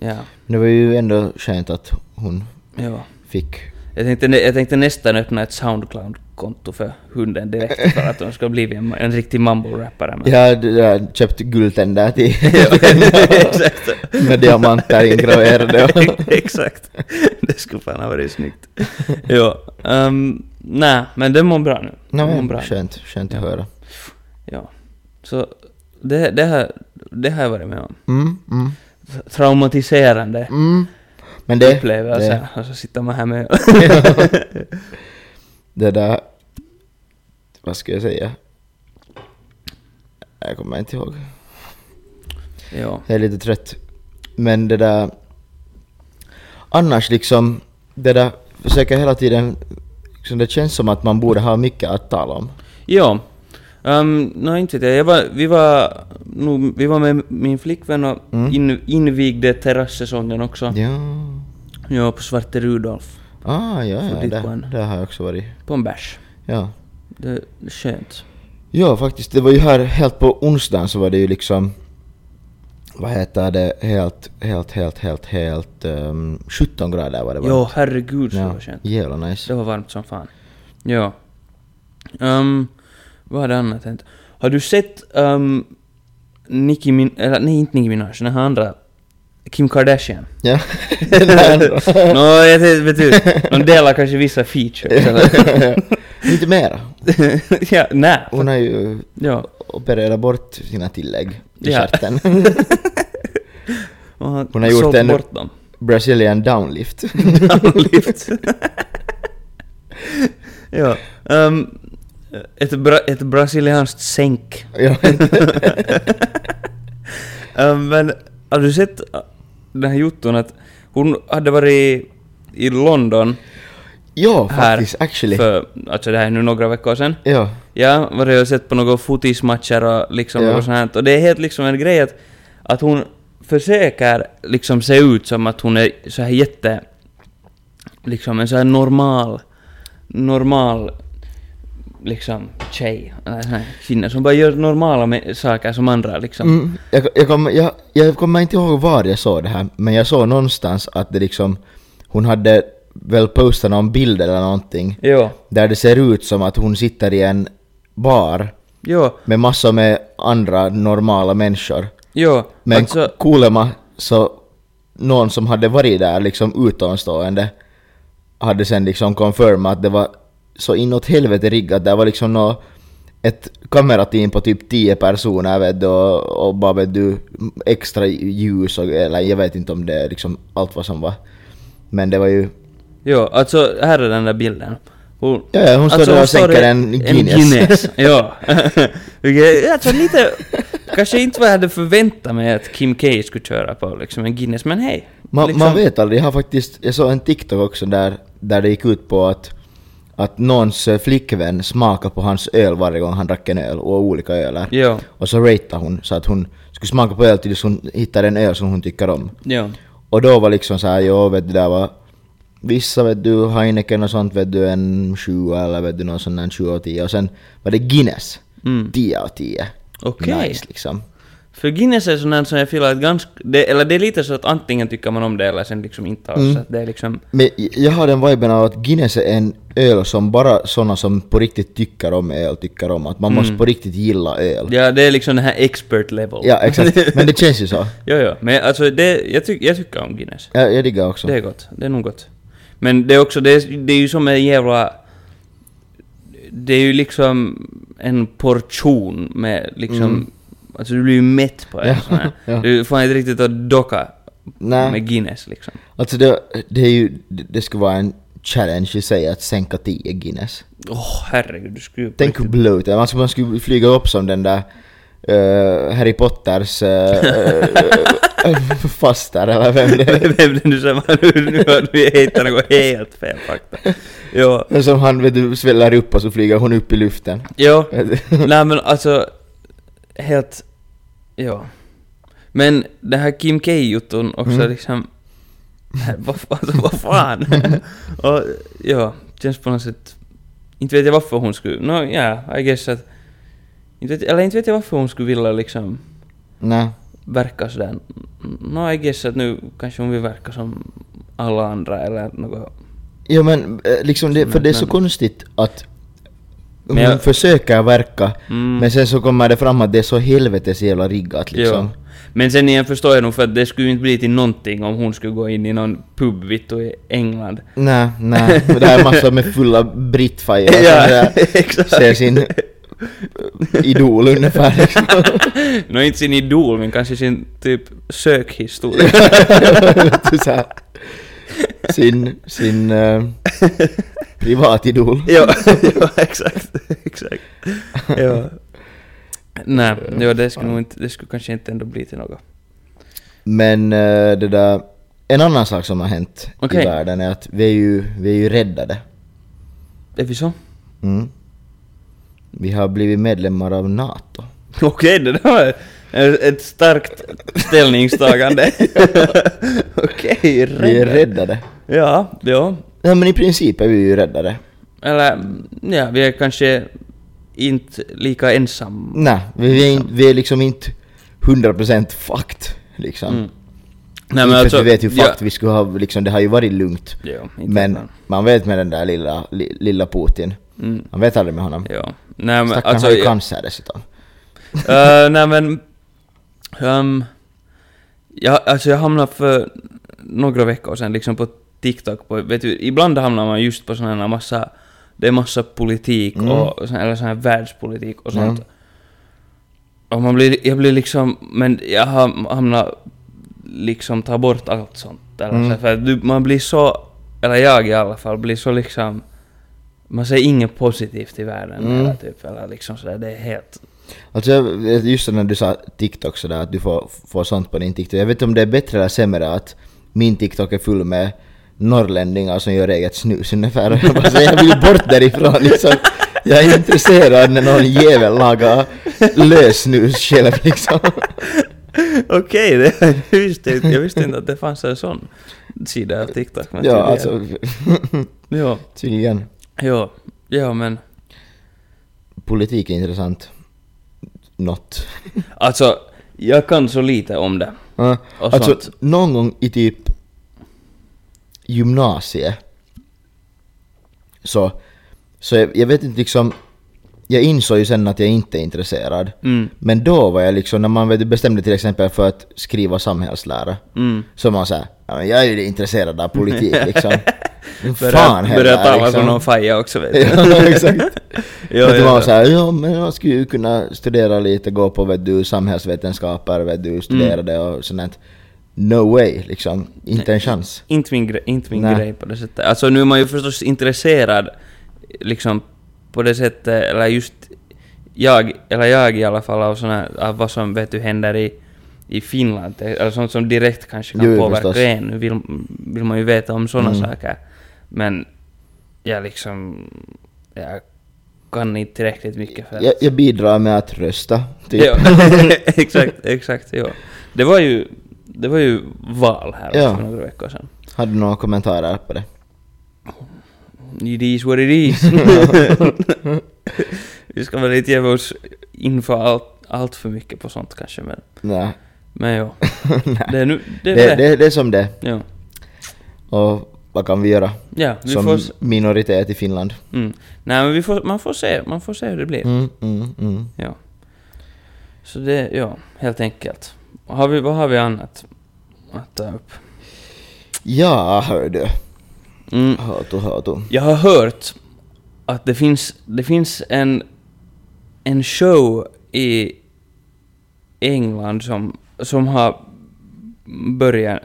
Ja,
Det var ju ändå skönt att hon
ja.
fick...
Jag tänkte, nä- jag tänkte nästan öppna ett Soundcloud-konto för hunden direkt för att hon ska bli en, en riktig mumble-rappare. men- <laughs>
Jag hade köpt guldtänder till
Exakt.
<laughs> med diamanter ingraverade.
<laughs> Exakt. Det skulle fan ha varit snyggt. ja. Um, nej, men den mår bra nu. Den
Nej,
mår
men
bra.
skönt, skönt att
Ja.
höra.
Ja. Så det, det, här, det här har jag varit med om.
Mm, mm,
Traumatiserande
mm. Men det,
upplevelse.
det,
Och så sitter man här med... <laughs>
<laughs> det där... Vad ska jag säga? Jag kommer inte ihåg.
ja.
Jag är lite trött. Men det där... Annars liksom, det där försöker hela tiden... Liksom det känns som att man borde ha mycket att tala om.
Ja. Um, Nej, inte vet jag. jag var, vi, var, nog- vi var med min flickvän och
Mm.
in, invigde terrassäsongen också.
Ja...
Ja, på Svarte Rudolf.
Ah, ja,
Så
ja,
dit var
där,
han.
där har jag också varit.
På en bärs.
Ja.
Det är skönt.
Ja, faktiskt. Det var ju här helt på onsdagen så var det ju liksom... Vad heter det? Helt, helt, helt, helt, helt... ehm, 17 grader var det varmt.
Ja, herregud så det
ja.
var skönt.
Jävla
Det
nice.
var varmt som fan. Ja. Um, vad hade annat hänt? Har du sett um, Nicki Min... Eller nej, inte Nicki Minaj, den här andra. Kim Kardashian.
<laughs>
<laughs>
Ja.
Nå, jag vet vet du. De delar kanske vissa features. eller-
<laughs> Inte mera.
ja, nej.
Hon har ju
Ja.
opererat bort sina tillägg i
Ja.
stjärten. <laughs>
Och han
Hon har gjort
sålt
en-
bort dem.
Brazilian downlift.
Downlift. <laughs> ja. Um, ett, bra, ett brasilianskt sänk.
ja.
<laughs> Ehm, men har du sett äh, den här jotton att hon hade varit i, i London
ja,
här
faktiskt. Actually.
för, alltså det här är nu några veckor sedan.
Ja.
Ja, varit och sett på några fotismatcher och liksom
Ja.
något sånt här. Och det är helt liksom en grej att, att hon försöker liksom se ut som att hon är så här jätte, liksom en så här normal, normal liksom tjej, eller sån här kvinna som bara gör normala me- saker som andra liksom.
Mm, jag, jag, kommer, jag, jag kommer inte ihåg var jag såg det här, men jag såg någonstans att det liksom... Hon hade väl postat någon bild eller någonting
Ja.
där det ser ut som att hon sitter i en bar
Ja,
med massor med andra normala människor.
ja.
Men
alltså,
Kolema, så någon som hade varit där liksom utomstående hade sen liksom confirmat att det var så inåt helvete riggat. Det var liksom nå ett kamerateam på typ 10 personer vet du och, och bara vet du extra ljus och eller jag vet inte om det är liksom allt vad som var. Men det var ju...
ja, alltså här är den där bilden. Hon,
Ja, ja, hon står där och
står
sänker
i-
en Guinness.
En
<laughs>
Guinness, ja. <laughs> Vilket- alltså lite... Kanske inte vad jag hade förväntat mig att Kim K skulle köra på liksom en Guinness, men hej.
Man,
liksom,
man vet aldrig, jag har faktiskt, jag såg en TikTok också där, där det gick ut på att, att någons eh, flickvän smakade på hans öl varje gång han drack en öl, och olika öler.
Ja,
Och så ratade hon, så att hon skulle smaka på öl tills hon hittade en öl som hon tycker om.
ja.
Och då var liksom så här, jo vet du, där var vissa vet du, Heineken och sånt vet du, en 7 eller vet du, någon sån där 7 av 10. Och sen var det Guinness,
Mm.
10 av 10.
Okej.
Nice liksom.
För Guinness är sån som jag filar att ganska... Det, eller det är lite så att antingen tycker man om det eller sen liksom inte
Mm.
alls. Så att det är liksom...
Men jag har den viben av att Guinness är en öl som bara såna som på riktigt tycker om öl tycker om. Att man måste på riktigt gilla öl.
Mm. Ja, det är liksom den här expert level.
Ja, exakt. Men det känns ju så.
<laughs> ja, ja. Men alltså det... Jag, tyck, jag tycker om Guinness.
Jag, jag diggar också.
Det är gott, det är nog gott. Men det är också, det är, det är ju som en jävla... Det är ju liksom en portion med liksom Alltså du blir ju mätt på
Ja,
en sån här.
ja.
Du får inte riktigt att docka
Nej.
med Guinness liksom.
Alltså det, det är ju, det det skulle vara en challenge i sig att sänka 10 Guinness.
Åh herregud, du skulle ju...
Tänk hur blöt det är. Man skulle, man skulle flyga upp som den där eh, Harry Potters
<laughs>
uh, faster eller vem det är.
Vem det nu som nu, nu har vi hittat något helt fel fakta. Jo,
Men Som han vet du, sväller upp och så flyger hon upp i luften.
jo.
<laughs>
Nej men alltså, helt... Ja. Men det här Kim K-jotton också
Mm.
liksom... Nej, Vad, fa- alltså, vad fan? och, ja, känns på något sätt... Inte vet jag varför hon skulle... No, ja, I guess att... Inte vet, eller inte vet jag varför hon skulle vilja liksom
Nej.
verka sådär... No, I guess att nu kanske hon vill verka som alla andra eller något.
Ja men eh, liksom det, för det är så
Men-
konstigt att hon
Men jag-
försöker verka
Mm.
men sen så kommer det fram att det är så helvetes jävla riggat liksom.
Ja. Men sen igen förstår jag nog för att det skulle ju inte bli till någonting om hon skulle gå in i någon pub vittu i England.
Nej, nej. Det här är massor med fulla brittfajor som
Ja,
där
<laughs> exakt.
ser sin idol ungefär liksom.
<laughs> Nå inte sin idol men kanske sin typ
<laughs>
sökhistoria.
Vet du, så här. Sin, sin eh, privatidol.
<laughs> ja, ja, exakt. exakt. Ja. Nej, ja, det skulle nog inte, det skulle kanske inte ändå bli till något.
Men eh, det där, en annan sak som har hänt i
Okej.
världen är att vi är ju, vi är ju räddade.
Är vi så?
Mm. Vi har blivit medlemmar av NATO.
Okej, det där var ett starkt ställningstagande. <laughs> Okej,
Vi är
rädd.
räddade.
Ja, ja.
Ja men i princip är vi ju räddade.
Eller, ja, vi är kanske inte lika ensamma.
Nej, vi är, in, vi är liksom inte 100% fucked liksom.
Mm.
Nej, men alltså, vi vet ju
ja,
fucked vi skulle ha, liksom, det har ju varit lugnt.
Ja, inte
Men
fan.
man vet med den där lilla, li, lilla Putin.
Mm.
Man vet aldrig med honom.
Ja. Nej men
Stackarn
alltså...
har ju
ja,
cancer dessutom.
<laughs> eh, nej men... Um, ja, alltså jag hamnade för några veckor sedan liksom på TikTok på, vet du, ibland hamnar man just på sådana här massa... Det är massa politik
Mm.
och, sån- eller sån här världspolitik och sånt.
Mm.
Och man blir, jag blir liksom, men jag ham- hamnar liksom ta bort allt sånt. Eller
Mm.
så, för att du, man blir så, eller jag i alla fall, blir så liksom, man ser inget positivt i världen.
Mm.
Eller typ, eller liksom sådär, det är helt...
Alltså jag vet just när du sa TikTok sådär att du får, får sånt på din TikTok. Jag vet inte om det är bättre eller sämre att min TikTok är full med norrlänningar som gör eget snus ungefär. <laughs> Och Jag, bara, så jag vill bort därifrån liksom. Jag är intresserad när någon jävel lagar lössnus själv
<laughs>
liksom.
Okej, det- <laughs> jag, visste inte- jag visste inte att det fanns en sån sida av TikTok. Men
Ja
tydligen-
alltså
Ja,
<laughs> tydligen.
ja, ja men...
Politik är intressant. Något.
Alltså, jag kan så lite om det.
Ja,
Och
alltså
sånt.
någon gång i typ gymnasiet så, så jag, jag vet inte liksom, jag insåg ju sen att jag inte är intresserad.
Mm,
Men då var jag liksom, när man vet, bestämde till exempel för att skriva samhällslära,
mm.
så man såhär, ja, men jag är ju intresserad
<laughs>
av politik liksom. Vad
Börjar,
händer, liksom?
börjar tala som någon faja också vet du.
<laughs> Ja, exakt.
<laughs> Ja,
att
ja,
man var
ja.
såhär, ja men jag skulle ju kunna studera lite, gå på vet du, samhällsvetenskaper, vet du, studera
Mm.
det och sånt där. No way, liksom. Inte en chans.
Inte min, gre- inte min
Nej.
grej på det sättet. Alltså nu är man ju förstås intresserad liksom på det sättet, eller just jag, eller jag i alla fall av, såna, av vad som vet du händer i, i Finland. Eller sånt som direkt kanske kan
Jo, jo,
påverka
förstås.
en. Nu vill, vill man ju veta om sådana
Mm.
saker. Men jag liksom, jag kan inte tillräckligt mycket för att...
Jag, jag bidrar med att rösta, typ. <laughs>
Ja, <laughs> exakt, exakt, ja. Det var ju, det var ju val här alltså,
Ja.
för några veckor sedan.
Hade du några kommentarer
<laughs>
på det? <laughs>
It is what it is. Vi ska väl inte ge oss in för allt, allt för mycket på sånt kanske, men,
Nej.
men ja.
Nej.
Det är nu, det
<laughs> Det,
är
det,
väl det.
det, är som det
Ja,
Och vad kan vi göra?
ja vi
som
får... s-
minoritet i Finland.
Mm. Nej, men vi får, man får se, man får se hur det blir.
Mm, mm, mm.
Ja. Så det, ja, helt enkelt. Har vi, vad har vi annat att ta upp?
Ja, hör du.
Mm.
Hörtu, hörtu.
Jag har hört att det finns, det finns en, en show i England som, som har börjat...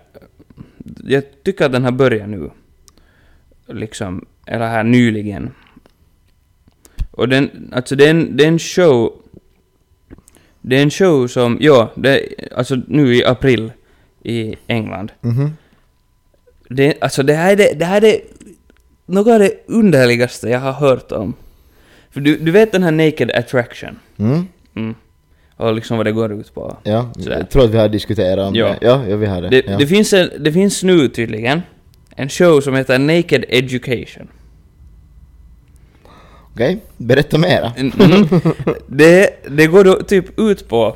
Jag tycker att den har börjat nu. Liksom, eller här nyligen. Och den, alltså den, den show... Det är en show som, ja, det, alltså nu i april i England.
Mhm.
Det, alltså det här är det, det här är det, något av det underligaste jag har hört om. För du, du vet den här Naked Attraction?
Mm.
Mm. Och liksom vad det går ut på.
Ja,
Sådär.
jag tror att vi har diskuterat om
Ja.
det. Ja, ja, vi har det.
Det,
ja.
det, finns en, det finns nu tydligen en show som heter Naked Education.
Okej, berätta mera.
<laughs> Mm. Det, det går då typ ut på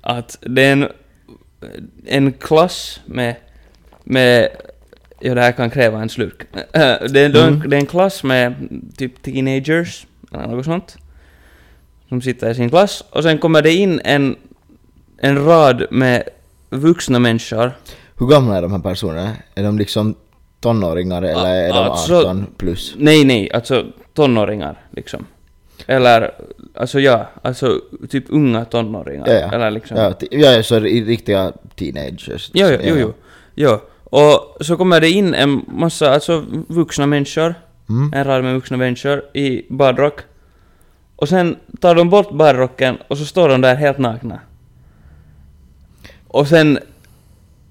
att det är en, en klass med, med... Ja, det här kan kräva en slurk. <laughs> Eh, Det är, då en,
Mm.
det är en klass med typ teenagers, eller något sånt, som sitter i sin klass. Och sen kommer det in en, en rad med vuxna människor.
<laughs> Hur gamla är de här personerna? Är de liksom tonåringar eller är de
alltså-
18 plus?
Nej, nej, alltså tonåringar liksom. Eller, alltså ja, alltså typ unga tonåringar.
Ja, ja.
Eller liksom...
Ja, ti- ja, ja, så är det i- riktiga teenagers.
Jo, jo,
Ja,
jo,
ja.
jo. Ja. Och så kommer det in en massa alltså, vuxna människor,
Mm.
en rad med vuxna människor i badrock. Och sen tar de bort badrocken och så står de där helt nakna. Och sen...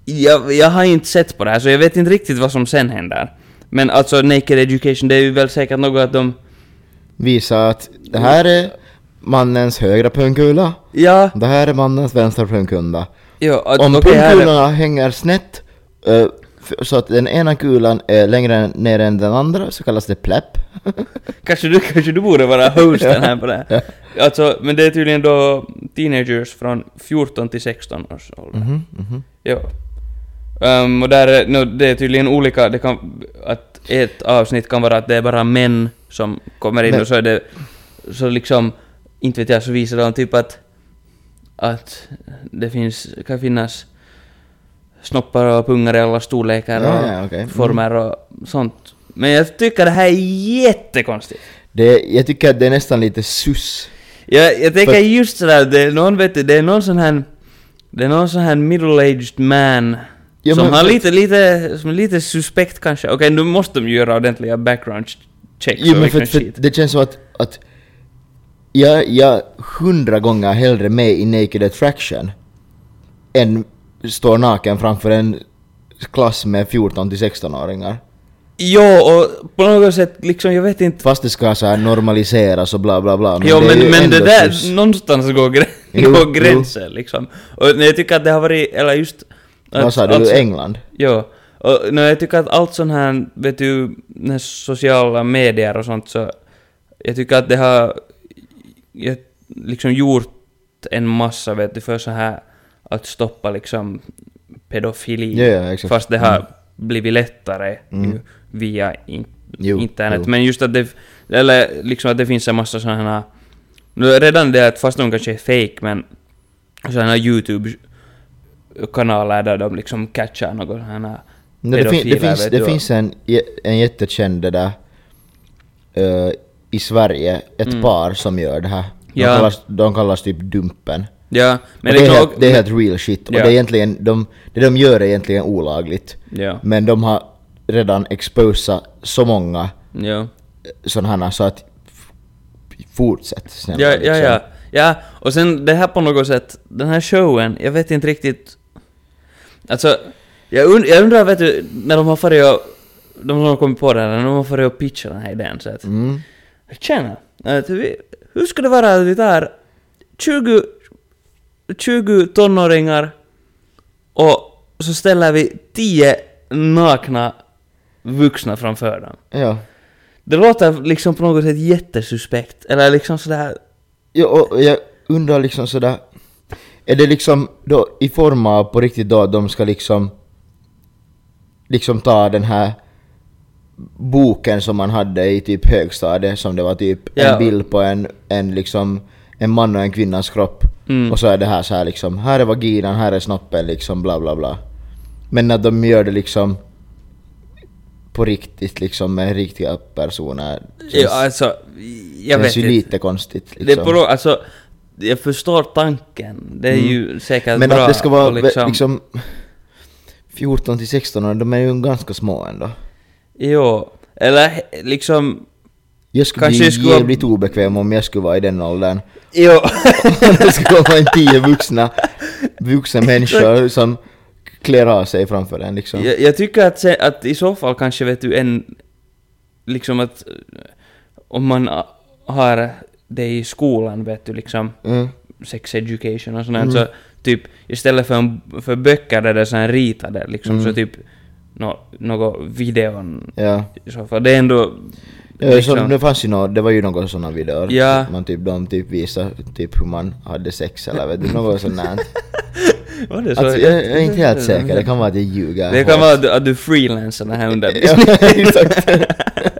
Jag, jag har inte sett på det här så jag vet inte riktigt vad som sen händer. Men alltså Naked Education, det är ju väl säkert något att de...
Visa att det här är mannens högra pungkula,
Ja,
det här är mannens vänstra pungkula.
ja att,
Om
okej, här är-
pungkulorna hänger snett, eh, f- så att den ena kulan är längre ner än den andra, så kallas det
<laughs>
pläpp.
Kanske du, kanske du borde vara hosten här på det här. Alltså, men det är tydligen då teenagers från 14 till 16 års ålder.
Mhm, mhm.
Ja. Ehm, och där är, no, det är tydligen olika, det kan, att ett avsnitt kan vara att det är bara män som kommer in
Men-
och så är det, så liksom, inte vet jag, så visar de typ att, att det finns, kan finnas snoppar och pungar i alla storlekar och
Ja, ja, okej. Mm.
former och sånt. Men jag tycker det här är jättekonstigt.
Det, jag tycker att det är nästan lite sus.
Jag, jag tänker
För-
just sådär, det är någon vet du, det är någon sån här det är någon sån här middle-aged man
Ja,
som
men-
har lite, lite, som är lite suspekt kanske. Okej, nu måste de göra ordentliga background checks
Jo,
och
men för,
liksom
för
shit.
det känns som att, att jag, jag är hundra gånger hellre med i Naked Attraction än står naken framför en klass med 14-16-åringar.
Jo, och på något sätt liksom, jag vet inte.
Fast det ska så här normaliseras och bla bla bla.
Jo,
det är ju
men, men
ändå
det där,
sus.
någonstans går, grä,
Jo,
går
jo.
gränsen liksom. Och nej, jag tycker att det har varit, eller just...
Vad sa du?
alltså-
England?
Jo. Och no, jag tycker att allt sånt här, vet du, när sociala medier och sånt så... Jag tycker att det har jag, liksom gjort en massa, vet du, för så här att stoppa liksom pedofili.
Ja, ja, exakt. Mm.
Fast det har blivit lättare ju via in,
Jo,
internet.
jo.
Men just att det, eller liksom att det finns en massa sådana här... nu, Redan det att fast de kanske är fake men sådana här YouTube-kanaler där de liksom catchar något sådana här
No, det, fin, det
pedofiler,
finns,
vet
det
du.
finns en, jä- en jättekänd det där eh, i Sverige, ett par som gör det här. De,
Mm. Ja.
kallas, de kallas typ Dumpen.
Ja, men
och det, är
liksom...
helt, det är helt real shit.
Ja.
Och det, är egentligen, de, det de gör är egentligen olagligt.
Ja.
Men de har redan exposat så många eh,
Ja.
sådana här så att... f- Fortsätt snälla.
Ja, ja,
liksom.
ja. Ja, och sen det här på något sätt, den här showen, jag vet inte riktigt... Alltså, jag, und jag undrar vet du, när de har farit och... De som har kommit på den, när de har farit och pitchat den här idén så att...
Mm.
Tjena! Att vi, hur ska det vara att vi tar 20, 20 tonåringar och så ställer vi 10 nakna vuxna framför dem?
ja.
Det låter liksom på något sätt jättesuspekt, eller liksom sådär...
Ja, och jag undrar liksom sådär... Är det liksom då i form av på riktigt då att de ska liksom... Liksom ta den här boken som man hade i typ högstadiet som det var typ
Ja.
en bild på en, en liksom en man och en kvinnas kropp.
Mm.
Och så är det här så här liksom, här är vaginan, här är snoppen liksom bla bla bla. Men att de gör det liksom på riktigt liksom med riktiga personer.
Ja, alltså, jag
känns
vet
ju
inte.
lite konstigt. liksom.
Det är på något, alltså, jag förstår tanken. Det är ju säkert
Mm. Men
bra.
att det ska vara
och
liksom... 14 till 16 år, de är ju ganska små ändå.
Jo, eller he- liksom...
Jag skulle
Kanske
bli
jag skulle vara-
jävligt obekväm om jag skulle vara i den åldern. <laughs>
Jo.
Om det skulle vara en tio vuxna, vuxna människor som klär av sig framför en liksom.
jag, jag tycker att, se, att i så fall kanske vet du en... Liksom att... eh, Om man ah, har det i skolan vet du liksom...
Mm.
sex education och sånt där, så typ istället för, en, för böcker där det är så här ritade liksom
Mm.
så typ no, något videon
Ja.
i så fall. Det är ändå... liksom,
Ja, så
<laughs>
det fanns ju nå, det var ju några sådana videor.
Ja.
Man typ, de typ visar typ hur man hade sex eller vet du, något sånt där.
Var det <laughs> så?
Alltså, jag, jag är inte
<laughs>
helt säker, det kan vara att jag ljuger.
Det kan vara att du, att du freelancer den här
<laughs> Ja,
undervisningen.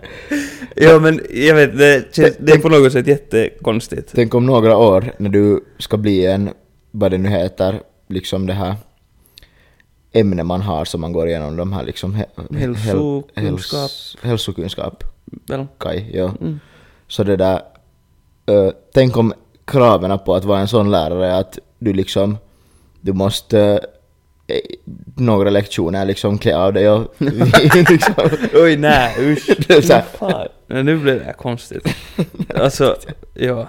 <laughs> ja men jag vet, det, känns, det är på något sätt jättekonstigt.
Tänk om några år när du ska bli en, vad det nu heter, liksom det här ämne man har som man går igenom de här liksom he-
Hälsokunskap.
Häls, hälsokunskap,
Väl?
Kaj, ja.
Mm.
Så det där, eh, tänk om kraven på att vara en sån lärare är att du liksom, du måste eh, några lektioner liksom klä av
<laughs>
dig och <laughs> liksom,
Oj nej, usch.
<laughs> Det är så här.
Fan. Nej, nu blev det här konstigt. Alltså, ja.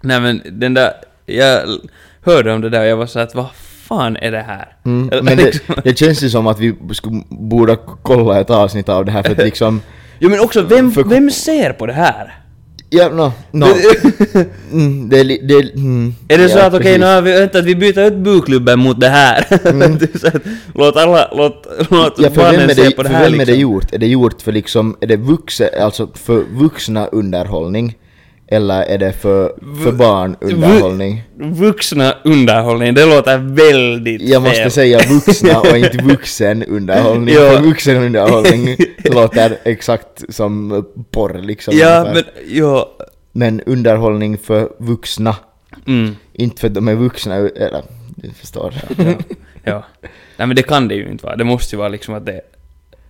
Nej men den där, jag l- hörde om det där och jag var så att vad fan är det här?
Mm,
Eller
men
<laughs>
det,
liksom-
det känns ju som att vi skulle, borde kolla ett avsnitt av det
<laughs>
här för att liksom
Jo men också, vem,
För-
vem ser på det här?
Ja, no, no. Mm, det är li- det är- mm,
är det så
ja,
att okej, nu
precis. Mm.
har vi väntat, vi byter ut buklubben mot det här? <laughs> Det är så att, låt alla, låt, låt
Ja, för vem,
barnen
är
se
det,
på det
för
här
vem är det
liksom.
gjort? Är det gjort för liksom, är det vuxen, alltså för vuxna underhållning? Eller är det för, för barn underhållning?
Vuxna underhållning, det låter väldigt
Jag måste
fel.
säga vuxna och inte
<laughs>
vuxen underhållning.
Ja.
För vuxen
<laughs>
underhållning låter exakt som porr liksom.
Ja,
ungefär.
men, ja,
men underhållning för vuxna.
mm.
Inte för att de är vuxna, eller du
<laughs>
förstår.
ja. ja. Nej men det kan det ju inte vara. Det måste ju vara liksom att det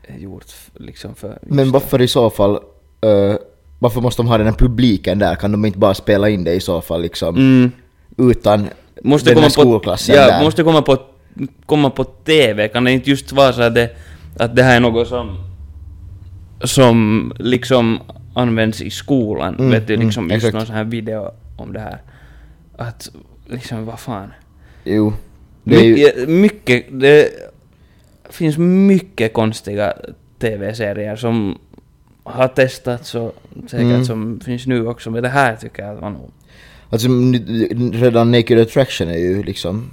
är gjort f- liksom för... just-
Men varför i så fall, eh, varför måste de ha den här publiken där? Kan de inte bara spela in det i så fall liksom?
Mm.
Utan
Måste
den här
komma på...
skolklassen
Ja,
där?
måste komma på, komma på TV. Kan det inte just vara så att det, att det här är något som... Som liksom används i skolan.
Mm,
vet du,
mm,
liksom just
exakt.
någon sån här video om det här. Att liksom, vad fan.
Jo. Det är ju,
Mycket, mycket, det finns mycket konstiga TV-serier som har testats och säkert
Mm.
som finns nu också, men det här tycker jag att man nog...
alltså, n- redan Naked Attraction är ju liksom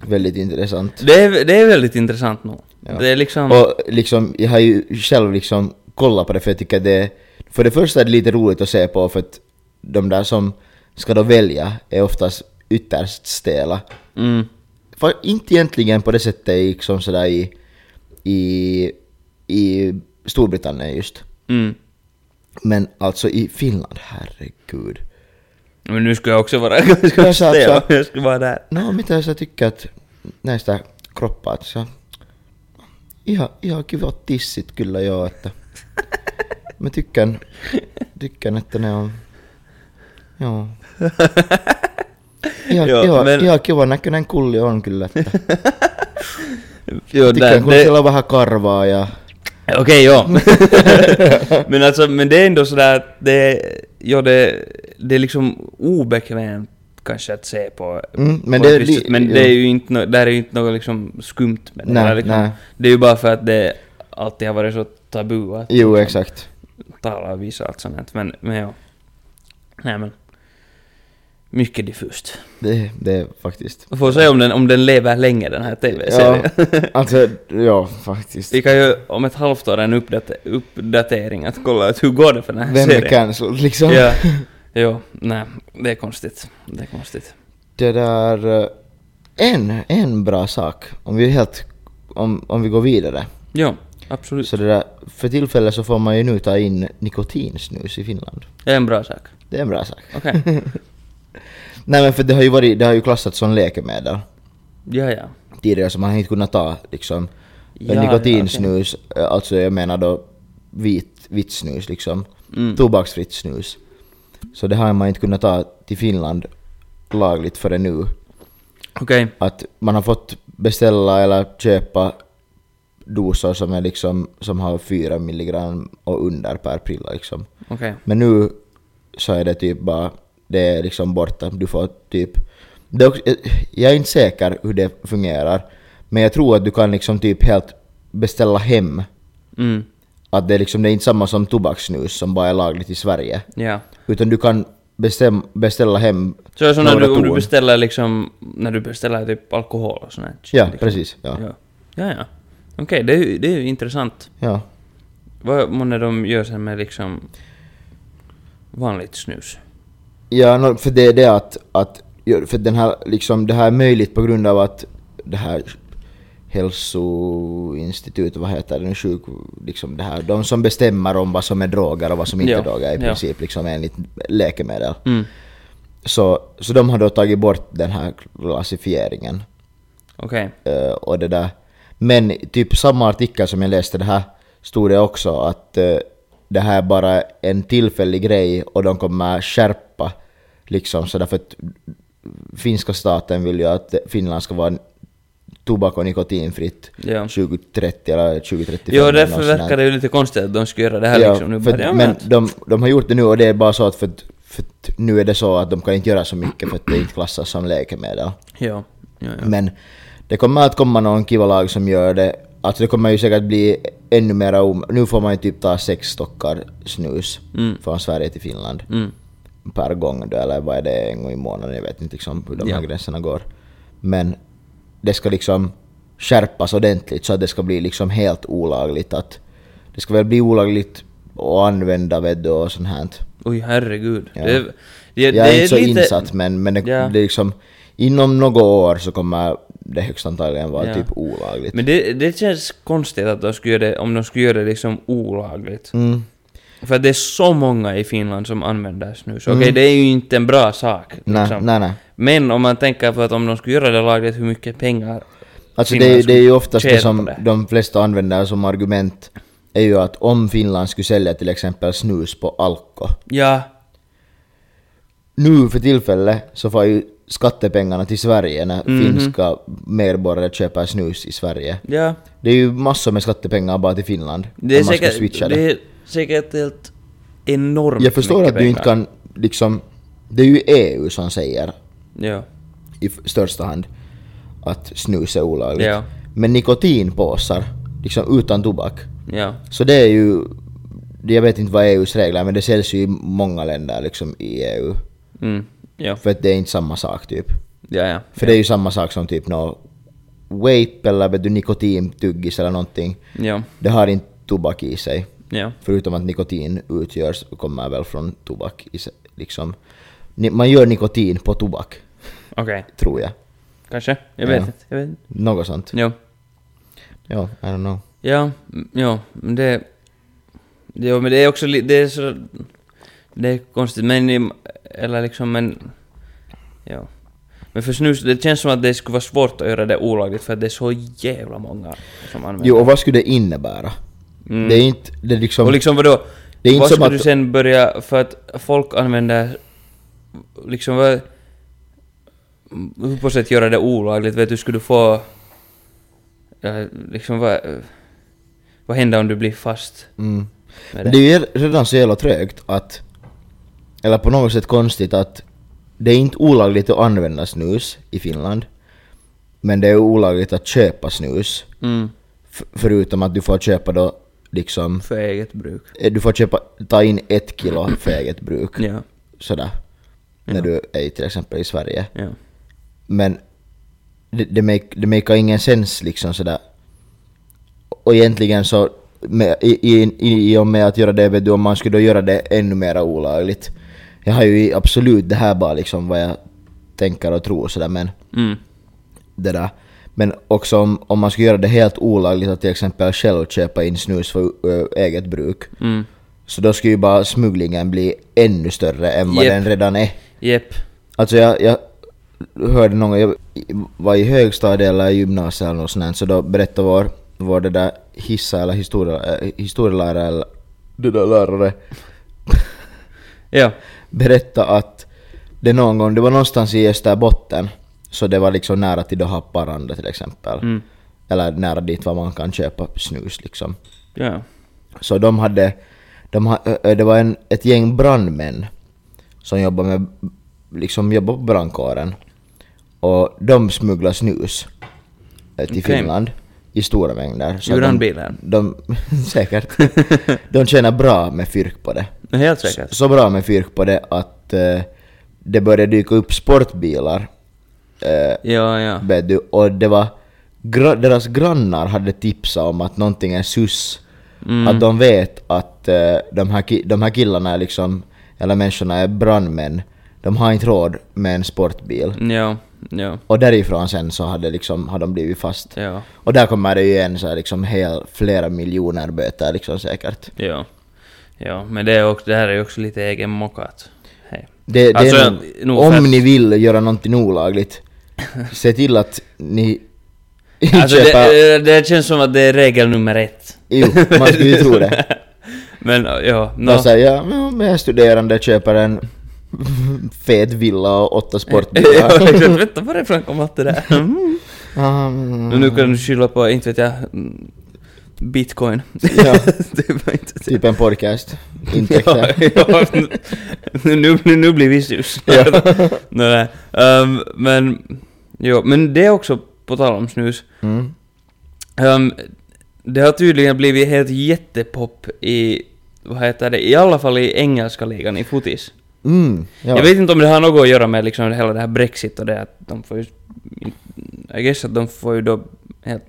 väldigt intressant.
Det är, det är väldigt intressant nog.
Ja.
Det är liksom...
Och liksom, jag har ju själv liksom kollat på det för jag tycker det är, för det första är det lite roligt att se på för att de där som ska då välja är oftast ytterst stela.
Mm,
Fa- inte egentligen på det sättet i, liksom sådär i, i, i Storbritannien just.
mm.
Men alltså i Finland, herregud.
Men nu ska jag också vara <laughs> ganska
Jag sa att-
stel om jag ska vara där.
No, mitä sä tykkäät näistä kroppaatsa? Ihan, ihan kivat tissit kyllä joo, että mä tykkään, tykkään että ne on,
<laughs>
joo. Ihan,
Joo,
joo, ihan,
men-
ihan kiva näköinen kulli on kyllä, että
Jo, där,
tykkään kun
det,
siellä on vähän
<laughs>
karvaa ja
Okej, ja. <laughs> men alltså, men det är ändå sådär att det, ja, det, det är liksom obekvämt kanske att se på.
Mm, men
på
det
ett
är
visst
li-
sätt. men
ja.
det är ju inte, no, där är ju inte något liksom skumt med det.
Nej,
Det är liksom,
nej.
Det är ju bara för att det alltid har varit så tabu att
juu, exakt.
tala och visa allt sånt här. men, men ja. Nej men. Mycket diffust.
Det, det är faktiskt.
Får se om den, om den lever länge den här TV-serien.
alltså, ja
<laughs>
faktiskt.
Vi kan ju om ett halvt år en uppdate- uppdatering att kolla att hur går det för den här
Vem
serien.
är cancelled liksom?
Ja,
<laughs>
jo, nej, det är konstigt. Det är konstigt.
det där... eh, En, en bra sak, om vi, helt, om, om vi går vidare.
Jo, absolut.
Så det där, för tillfället så får man ju nu ta in nikotinsnus i Finland.
Det är en bra sak.
Det är en bra sak.
Okej.
<laughs> Nej men för det har ju, varit, det har ju klassats som läkemedel
Ja, ja.
tidigare så man har inte kunnat ta liksom
Ja,
nikotinsnus, eh, alltså jag menar då vit, vitt snus liksom.
Mm.
Tobaksfritt snus. Så det har man inte kunnat ta till Finland lagligt före nu.
Okej.
Att man har fått beställa eller köpa dosor som, är liksom, som har 4 milligram och under per prilla. Liksom.
Okej.
Men nu så är det typ bara, det är liksom borta. Du får typ... Det är också, eh, jag är inte säker hur det fungerar, men jag tror att du kan liksom typ helt beställa hem.
Mm.
Att det är liksom, det är inte samma som tobakssnus som bara är lagligt i Sverige.
Ja.
Utan du kan bestäm, beställa hem
Så det är som när
några
du, om du
ton.
beställer liksom, när du beställer typ alkohol och sånt här shit,
Ja,
liksom.
precis. Ja.
Ja, ja. ja. Okej, det, är ju- det är ju intressant.
Ja.
Vad månne de gör sen med liksom vanligt snus?
Ja, nå, för det är det att, att gör- för den här, liksom, det här är möjligt på grund av att det här hälsoinstitutet, vad heter det nu, sjuk, liksom det här, de som bestämmer om vad som är droger och vad som inte
Ja,
är droger i
ja.
princip, liksom enligt läkemedel.
Mm.
Så, så de har då tagit bort den här klassifieringen.
Okej.
Eh, och det där. Men typ samma artikel som jag läste det här stod det också att eh, det här är bara en tillfällig grej och de kommer skärpa liksom så därför att finska staten vill ju att Finland ska vara tobak och nikotinfritt
Ja.
2030 eller 2035.
Jo,
eller
därför
något sånt här.
verkar det ju lite konstigt att de ska göra det här liksom. Nu
för,
bara, ja, men...
men
att-
de, de har gjort det nu och det är bara så att för, att- för att nu är det så att de kan inte göra så mycket för att det inte klassas som läkemedel.
Ja, ja, ja.
Men det kommer att komma någon kiva lag som gör det. Alltså det kommer ju säkert bli ännu mera om... Nu får man ju typ ta sex stockar snus
Mm.
från Sverige till Finland
Mm.
per gång då, eller vad är det, en gång i månaden? Jag vet inte liksom hur de
Ja.
här gränserna går. Men det ska liksom skärpas ordentligt så att det ska bli liksom helt olagligt att... Det ska väl bli olagligt att använda vet du, och sånt här.
Oj, herregud.
Ja.
Det, är- det,
Jag
det
är,
är
inte så
lite...
insatt men, men det,
Ja.
det är liksom... Inom några år så kommer det högst antagligen vara
Ja.
typ olagligt.
Men det, det känns konstigt att de skulle göra det, om de skulle göra det liksom olagligt.
Mm.
För det är så många i Finland som använder snus. Okej, det är ju inte en bra sak.
Mm. Nej,
liksom.
nej, nej.
Men om man tänker på att om de skulle göra det lagligt, hur mycket pengar...
Alltså
Finland
det, är- det är ju
skulle
oftast
tjäna
det
på
som
det.
de flesta använder som argument är ju att om Finland skulle sälja till exempel snus på Alko.
Ja,
Nu för tillfället så får ju skattepengarna till Sverige när
Mhm.
finska medborgare köper snus i Sverige.
ja.
Det är ju massor med skattepengar bara till Finland.
Det är,
om man ska
säkert,
switcha
det. är säkert helt enormt
Jag förstår
mycket
att du inte
pengar.
kan liksom... Det är ju EU som säger
Ja.
i f- största hand att snus är olagligt.
Ja.
Men nikotinpåsar, liksom utan tobak,
Ja.
Så det är ju... Jag vet inte vad EUs regler är men det säljs ju i många länder liksom i EU.
Mm. Ja.
För att det är inte samma sak typ.
Ja, ja.
För det är ju samma sak som typ nå... Vape eller vet du, nikotintuggis eller någonting.
Ja.
Det har inte tobak i sig.
Ja.
Förutom att nikotin utgörs kommer väl från tobak i sig, liksom. Ni- Man gör nikotin på tobak,
Okej.
tror jag.
Kanske. Jag vet
Ja.
inte. Jag vet inte.
Något sånt.
Ja.
Ja, I don't know.
Ja, mm, ja, men det... Jo, men det är också li- det är så... Det är konstigt, men... i- Eller liksom, men... Ja. Men för snus, det känns som att det skulle vara svårt att göra det olagligt för att det är så jävla många som använder
Jo, och vad skulle det innebära?
Mm.
Det är inte... Det är liksom...
Och liksom vadå?
Det är inte
vad
som
ska
att-
du sen börja, för att folk använder, liksom vad... Hur på sätt göra det olagligt? Vet du, skulle du få... Ja, liksom vad... Vad händer om du blir fast?
Mm.
med
Men Det är ju redan så jävla trögt att... Eller på något sätt konstigt att... Det är inte olagligt att använda snus i Finland. Men det är olagligt att köpa snus.
Mm.
F- förutom att du får köpa då liksom...
För eget bruk.
eh, Du får köpa, ta in ett kilo för eget bruk.
Ja.
Sådär. När du är i, till exempel i Sverige.
Ja.
Men det, det, make, det makear ingen sens liksom sådär. Och egentligen så, med, i, i, i, i och med att göra det, vet du, om man skulle då göra det ännu mer olagligt. Jag har ju i- absolut det här bara liksom vad jag tänker och tror sådär men
Mm.
det där. Men också om, om man skulle göra det helt olagligt att till exempel själv köpa in snus för ö, eget bruk.
Mm.
Så då skulle ju bara smugglingen bli ännu större än vad
Jep.
den redan är.
Jep.
Alltså jag, jag hörde någon gång, jag var i högstadiet eller i gymnasiet eller något sånt här, så då berättade vår, vår det där hissa eller historia, eh, historielärare eller det där lärare
Ja.
<laughs> berättade att det någon gång, det var någonstans i Österbotten, så det var liksom nära till då Haparanda till exempel.
Mm.
Eller nära dit var man kan köpa snus liksom.
Ja.
Så de hade, de, ha- ö- ö, det var en, ett gäng brandmän som jobbade med, liksom jobbade på brandkåren. Och de smugglade snus eh, till
Okej.
Finland i stora mängder.
Ur
de-
handbilen?
De, <laughs> säkert.
<laughs>
De tjänar bra med fyrk på det.
Men Helt säkert.
Så bra med fyrk på det att eh, det började dyka upp sportbilar. eh,
Ja, ja.
vet du, och det var gra- deras grannar hade tipsat om att någonting är sus.
Mm.
Att de vet att eh, de, här ki- de här killarna är liksom, eller människorna är brandmän. De har inte råd med en sportbil.
Ja, ja,
Och därifrån sen så hade, liksom, har de blivit fast.
ja,
Och där kommer det ju en så här liksom hel, flera miljoner böter liksom säkert.
ja. Ja, men det, är också, det här är ju också lite egenmockat. Hej.
Det, det
Alltså,
är nog,
nog
om
för-
ni vill göra
<laughs>
någonting olagligt, se till att ni
Alltså
köper...
det, det känns som att det är regel nummer ett.
Jo, man skulle ju tro det.
<laughs> Men ja, nå.
No. säger jag, "Ja, men jag är studerande, köper en <laughs> fet villa och åtta
<laughs> Ja,
sportbilar.
exakt. Vänta, varifrån kom allt det
<laughs>
där? Mm.
Mm,
Men nu kan du skylla på, inte vet jag, mm, bitcoin.
ja,
<laughs> det var inte det.
typ
<laughs>
en podcast.
Ja,
Intäkter.
ja, nu, nu, nu- nu
<laughs>
blir vi sus.
Ja.
<laughs> nej, nej. Ehm, men, jo, men det är också på tal om snus.
Mm.
Ehm, det har tydligen blivit helt jättepop i, vad heter det, i alla fall i engelska ligan i fotis.
Mm, ja.
Jag vet inte om det har något att göra med liksom hela det här Brexit och det att de får ju... I guess att de får ju då helt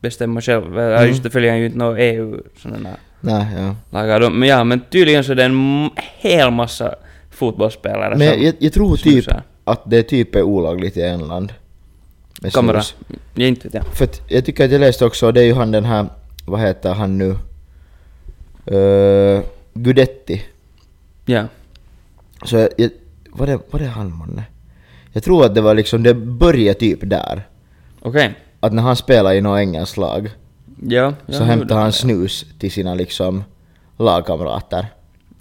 bestämma själva.
Mm.
Ja, Just det, följer ju inte några EU sådana
Nej, ja.
lagar. De, men ja, men tydligen så är det en m- hel massa fotbollsspelare
Men jag,
som
jag, jag tror typ
snusar.
att det typ är olagligt i England. Med
Kamera.
snus.
Jag inte vet jag.
För att jag tycker att jag läste också, det är ju han den här, vad heter han nu? Eh, Gudetti.
Ja.
Så jag, jag, var, det, var det han månne? Jag tror att det var liksom, det började typ där.
Okej.
att när han spelar i något engelskt lag
Ja. jag hörde
så hämtar
det.
han snus till sina liksom lagkamrater.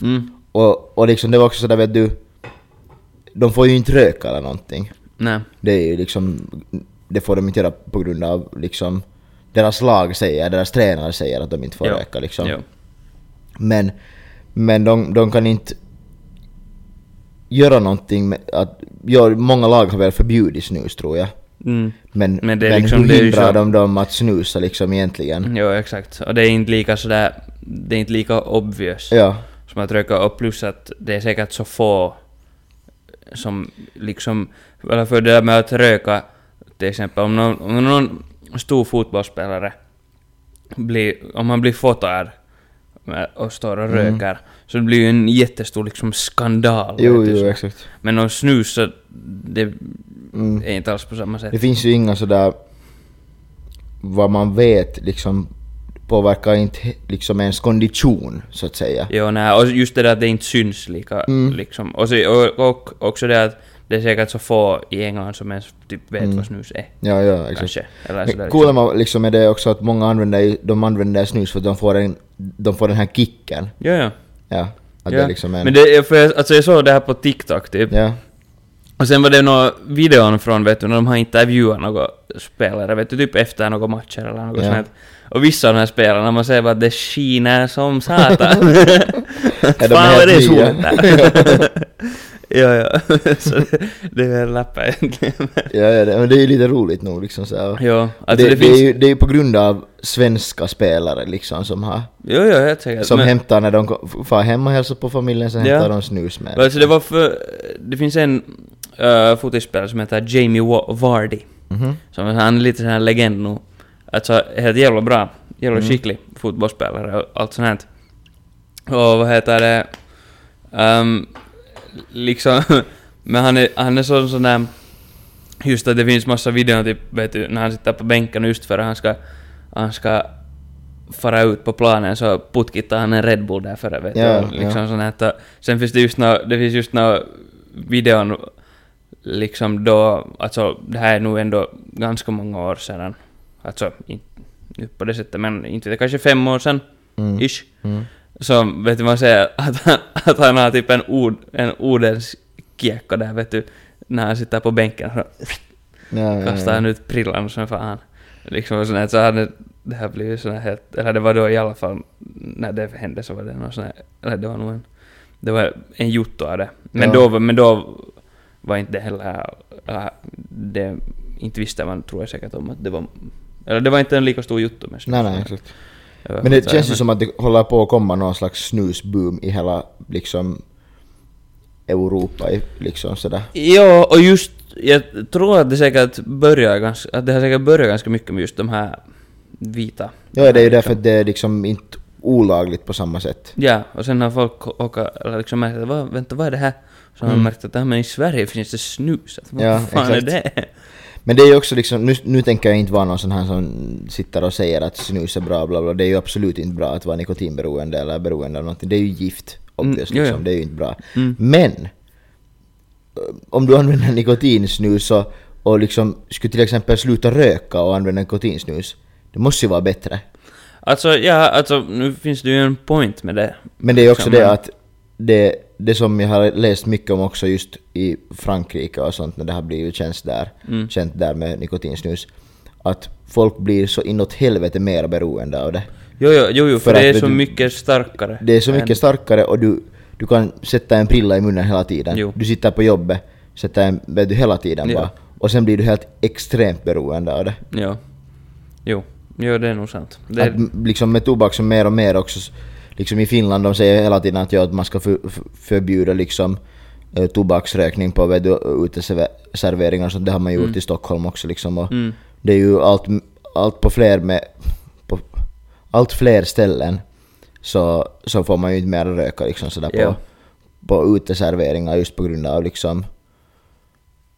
Mm.
Och, och liksom det var också sådär vet du, de får ju inte röka eller någonting.
Nej.
Det är ju liksom, det får de inte göra på grund av liksom deras lag säger, deras tränare säger att de inte får
Jo.
röka liksom.
Jo.
Men, men de, de kan inte göra någonting med att, ja, många lag har väl förbjudit snus tror jag.
Mm.
Men,
Men det är
men
liksom-
hur
det är ju
hindrar
så- Mm.
de dem att snusa liksom egentligen?
Jo, exakt. Och det är inte lika sådär... Det är inte lika obvious.
Ja.
som att röka och plus att det är säkert så få som liksom, eller för det där med att röka till exempel, om någon, om någon stor fotbollsspelare blir, om han blir fotad med- och står
Mm.
och röker, så det blir ju en jättestor liksom skandal.
Jo,
vet du,
jo,
så.
exakt.
Men om snus så, det
Mm.
är inte alls på samma sätt.
Det finns ju inga sådär... Vad man vet liksom påverkar inte he- liksom ens kondition, så att säga.
Jo, nej, och just det där att det inte syns lika
Mm.
liksom. Och, så, och, och också det att det är säkert så få i England som ens typ
Mm.
vet vad snus är.
Ja, ja, exakt.
kanske. Eller
Men
sådär,
Coola man liksom är det också att många använder, ju- de använder snus för att de får, en, de får den här kicken.
Ja, ja.
Ja. Att det
ja.
är liksom en...
Men det, är- för jag, alltså jag såg det här på TikTok typ.
Ja.
Och sen var det några videon från vet du, när de har intervjuat några spelare, vet du, typ efter några matcher eller något
Ja.
sånt. här. Och vissa av de här spelarna, man ser bara att det skiner som
<laughs>
satan.
är
Fan vad det är
helt nya?
soligt där. <laughs> ja, ja. <laughs> Så det- det är en lappa egentligen.
ja, ja, det, men det är ju lite roligt nog liksom så här.
ja, alltså det,
det, det,
finns...
är ju, det är ju på grund av svenska spelare liksom som har...
Jo, jo, helt säkert.
Som
men-
hämtar när de ko- far hem och hälsar på familjen, så
Ja.
hämtar de snus med.
Alltså det var för... Det finns en uh, fotbollsspelare som heter Jamie Wa- Vardy.
Mhm.
Som är- han är lite sån här legend nu. Alltså helt jävla bra. Jävla skicklig fotbollsspelare och allt sånt här. Och vad heter det... Ehm, liksom... <laughs> men han är, han är sån sån där... Just att det finns massa videor typ, vet du, när han sitter på bänken just för att han ska... Han ska fara ut på planen så putkittar han en Red Bull där före vet
Ja,
du. och Liksom
ja.
sån här, ta- sen finns det just nå, det finns just nå videon liksom då, alltså det här är nog ändå ganska många år sedan. Alltså, in, nu på det sättet, men inte det kanske fem år sedan,
Mm.
ish.
Mm.
Så vet du man säger att han, att han har typ en, ord, en ordens kiekko där vet du, när han sitter på bänken och
Ja,
kastar han ut prillan som fan. Liksom och sån här, så hade det här blivit sån här helt, eller det var då i alla fall, när det hände så var det någon sån här, eller det var nog en, det var en jotto av det. Men,
Ja.
då, var- men då var inte det heller, eller det, inte visste man tror jag säkert om att det var, eller det var inte en lika stor jotto men
Nej, nej, exakt.
Jag vet
Men
inte,
det känns ju som att det håller på att komma någon slags snusboom i hela liksom Europa i- liksom sådär.
Ja, och just, jag tror att det säkert börjar ganska, att det har säkert börjat ganska mycket med just de här vita.
Ja, det är ju därför att det är liksom inte olagligt på samma sätt.
Ja, och sen har folk åka, eller liksom märkt att "Vad- vänta vad är det här? Så har man märkt att "Ah, men i Sverige finns det snus. Att, Vad
Mm. Ja,
fan är
exakt.
det?
Men det är ju också liksom, nu, nu tänker jag inte vara någon sån här som sitter och säger att snus är bra bla bla. Det är ju absolut inte bra att vara nikotinberoende eller beroende av någonting. Det är ju gift,
Mm,
obvious,
ja, Mm. ja.
liksom. Det är ju inte bra. Men! eh, Om du använder nikotinsnus och, och liksom skulle till exempel sluta röka och använda nikotinsnus. Det måste ju vara bättre.
Alltså, ja, alltså nu finns det ju en point med det.
Men det är också
Samma.
det att det, det som jag har läst mycket om också just i Frankrike och sånt när det har blivit känt där,
Mm.
känt där med nikotinsnus. Att folk blir så inåt helvete mer beroende av det.
Jo, jo, jo, jo för,
För
det
att
är
det
så
du-
mycket starkare.
Det är så
än-
mycket starkare och du, du kan sätta en prilla i munnen hela tiden.
Jo.
Du sitter på jobbet, sätter en vet du, hela tiden
Ja.
bara. Och sen blir du helt extremt beroende av det.
Ja. Jo. Jo, det är nog sant. Det,
Att, m- liksom med tobak som mer och mer också, s- liksom i Finland de säger hela tiden att, ja, att man ska för, för- förbjuda liksom eh, tobaksrökning på vet du, uteserveringar och sånt. Det har man gjort
Mm.
i Stockholm också liksom. Och Det är ju allt, m- allt på fler med, på allt fler ställen så, så får man ju inte mer röka liksom sådär på,
Ja.
på uteserveringar just på grund av liksom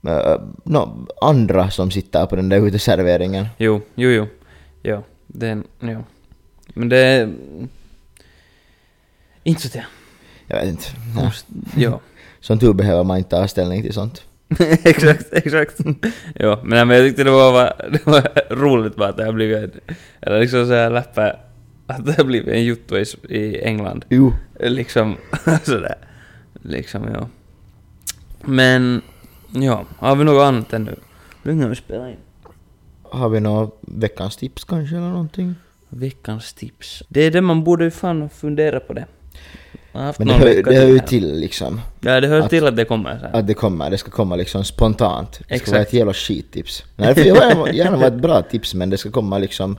eh, nå, andra som sitter på den där uteserveringen.
Jo, jo, jo. Ja, det är en, ja. Men det är... Inte så det.
Jag vet inte. Nej.
Ja. ja.
Som tur behöver man inte ta ställning till sånt.
<laughs> exakt, exakt. jo, men, nej, men jag tyckte det var, bara- det var roligt bara att det har blivit en... Eller liksom så här läppä... Att det har blivit en jotto i, S- i England.
Jo.
Liksom <laughs> sådär. Liksom, ja. Men... Ja, har vi något annat ännu? Nu kan vi spela in.
Har vi några veckans tips kanske eller någonting?
Veckans tips. Det är det man borde ju fan fundera på det. Man har haft
Men det
någon
hör,
vecka
det hör ju
här.
till liksom.
Ja, det hör
att-
till att det kommer så här.
Att det kommer, det ska komma liksom spontant. Det ska vara
Exakt.
ett jävla skittips. Nej, det får gärna, gärna vara ett bra tips men det ska komma liksom...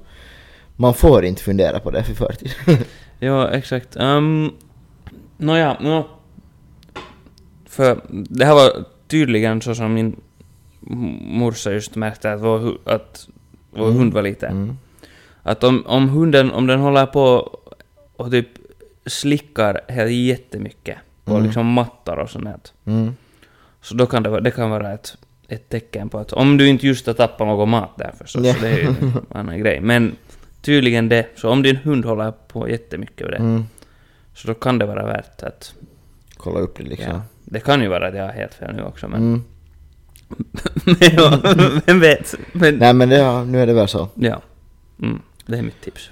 Man får inte fundera på det för förtid. <laughs>
Ja, exakt. Um, Nåja, nå. För det här var tydligen så som min m- morsa just märkte att vår, hu- att vår hund var liten.
Mm.
Att om, om hunden, om den håller på och typ slickar helt jättemycket på liksom mattar och sånt här.
Mm.
Så då kan det, vara- det kan vara ett, ett tecken på att om du inte just har tappat någon mat där förstås,
Ja.
så det är ju en annan grej. Men tydligen det, så om din hund håller på jättemycket med det,
Mm.
så då kan det vara värt att...
Kolla upp det liksom.
Ja, det kan ju vara att jag har helt fel nu också, men...
Mm.
men <laughs> ja, vem vet? Men,
Nej men det, ja, nu är det väl så.
Ja. Mm, det är mitt tips.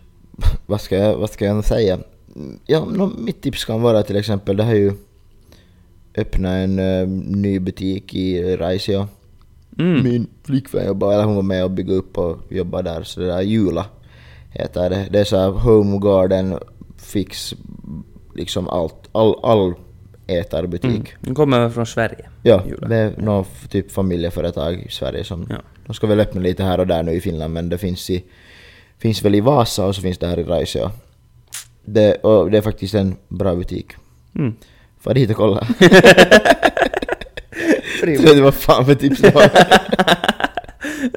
Vad ska jag, vad ska jag säga? Mm, Ja, nå, mitt tips kan vara till exempel, det har ju öppnat en eh, ny butik i Raisio.
Mm.
Min flickvän jobbade, eller hon var med och byggde upp och jobbade där, så det där Jula heter det. Det är så här home garden fix, liksom allt, all, all ätarbutik.
Mm. Den kommer från Sverige.
Ja,
Jula.
det är någon f- typ familjeföretag i Sverige som...
Ja.
De ska väl öppna lite här och där nu i Finland men det finns i... Finns väl i Vasa och så finns det här i Raisio. Det, och det är faktiskt en bra butik.
Mm.
Far dit
<laughs>
och kolla. <laughs> Jag vet inte vad fan för tips det var.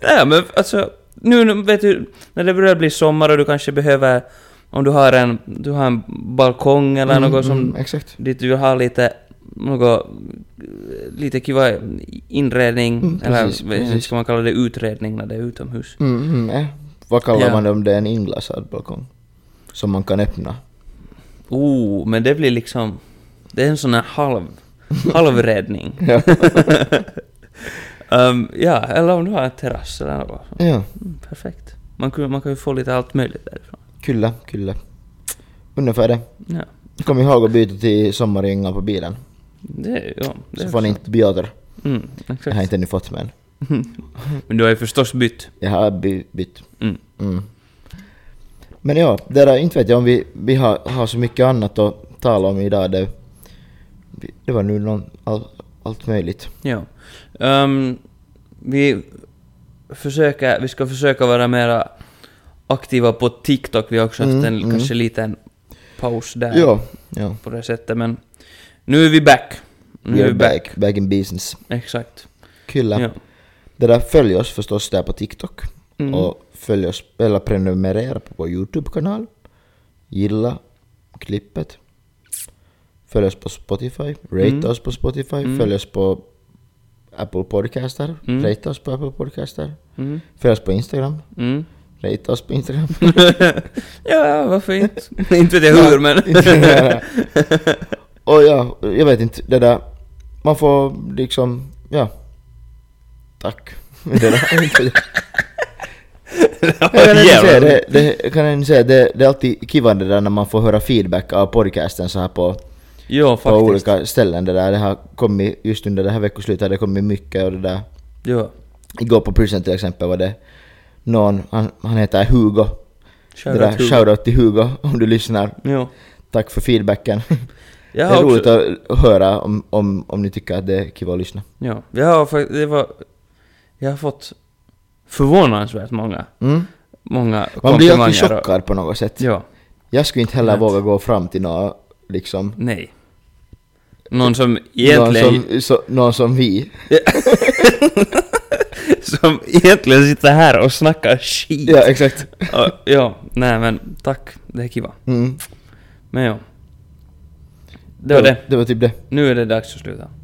Ja, men alltså, nu nu vet du, när det börjar bli sommar och du kanske behöver, om du har en, du har en balkong eller något som,
Mm, <laughs> exakt.
dit du vill ha lite, något, eh, lite kiva inredning,
Mm,
eller
precis,
vet-
precis.
ska man kalla det utredning när det är utomhus?
Mm, mm, eh. Vad kallar
Ja.
man det om det är en inglasad balkong? Som man kan öppna.
Oh, men det blir liksom, det är en sån här
<laughs>
halv, halvräddning.
Ja.
<laughs> Ehm, ja, eller om du har en terrass eller något.
ja,
Mm, perfekt. Man kan, man kan ju få lite allt möjligt därifrån.
kulla, kulla. Ungefär det.
Ja.
Kom ihåg att byta till sommarringar på bilen.
Det, ja, det
Så
är
får ni
sant.
inte bjuder.
Mm,
Jag har
exakt.
inte ännu fått men
Men du har ju förstås bytt.
jag har by- bytt.
Mm.
Mm. Men ja, det där, inte vet jag om vi, vi har, har så mycket annat att tala om idag. Det, vi- det var nu någon, all, allt möjligt.
Ja. Ehm, vi, försöker, vi ska försöka vara mera aktiva på TikTok. Vi har också haft
Mm,
en
mm.
kanske liten paus där
Ja, ja.
på det sättet. Men nu är vi back. Nu
We are back. Back in business.
Exakt.
Kulla.
Ja.
Det där följ oss förstås där på TikTok.
Mm.
Och följ oss, eller prenumerera på vår YouTube-kanal. Gilla klippet. Följ oss på Spotify. Rate
Mm.
oss på Spotify. Följ oss på Apple Podcaster.
Mm.
Rate oss på Apple Podcaster.
Mm.
Följ oss på Instagram. <laughs>
Mm.
Rate oss
<laughs>
på Instagram.
ja, varför inte? inte vet jag hur, men... <laughs>
och ja, jag vet inte, det där. Man får liksom, ja.
<laughs>
Tack. Det där. Jag kan inte säga, det, det, jag kan inte säga det, det är alltid kivande där när man får höra feedback av podcasten så här på,
ja,
på
faktiskt.
olika ställen. Det, där. det har kommit, just under det här veckoslutet har det kommit mycket och det där.
Ja.
Igår på Prison till exempel var det någon, han, han heter Hugo.
Shoutout
det där,
Hugo.
Shoutout till Hugo om du lyssnar.
Ja.
Tack för feedbacken.
Jag
det är
har också-
roligt att höra om, om, om ni tycker att det är kiva att lyssna.
Ja, jag har fakt- det var... Jag har fått förvånansvärt många,
Mm.
många
Man blir alltid
komplimanger och-
chockad på något sätt.
Ja,
Jag skulle inte heller
Rätt.
våga gå fram till några liksom
nej. Någon som egentligen,
Någon som, så, någon som vi.
<laughs> som... egentligen sitter här och snackar skit.
Ja, exakt.
Ja, ja, nej men tack, det är kiva.
Mm.
Men ja. Det var det.
Det var typ det.
Nu är det dags att sluta.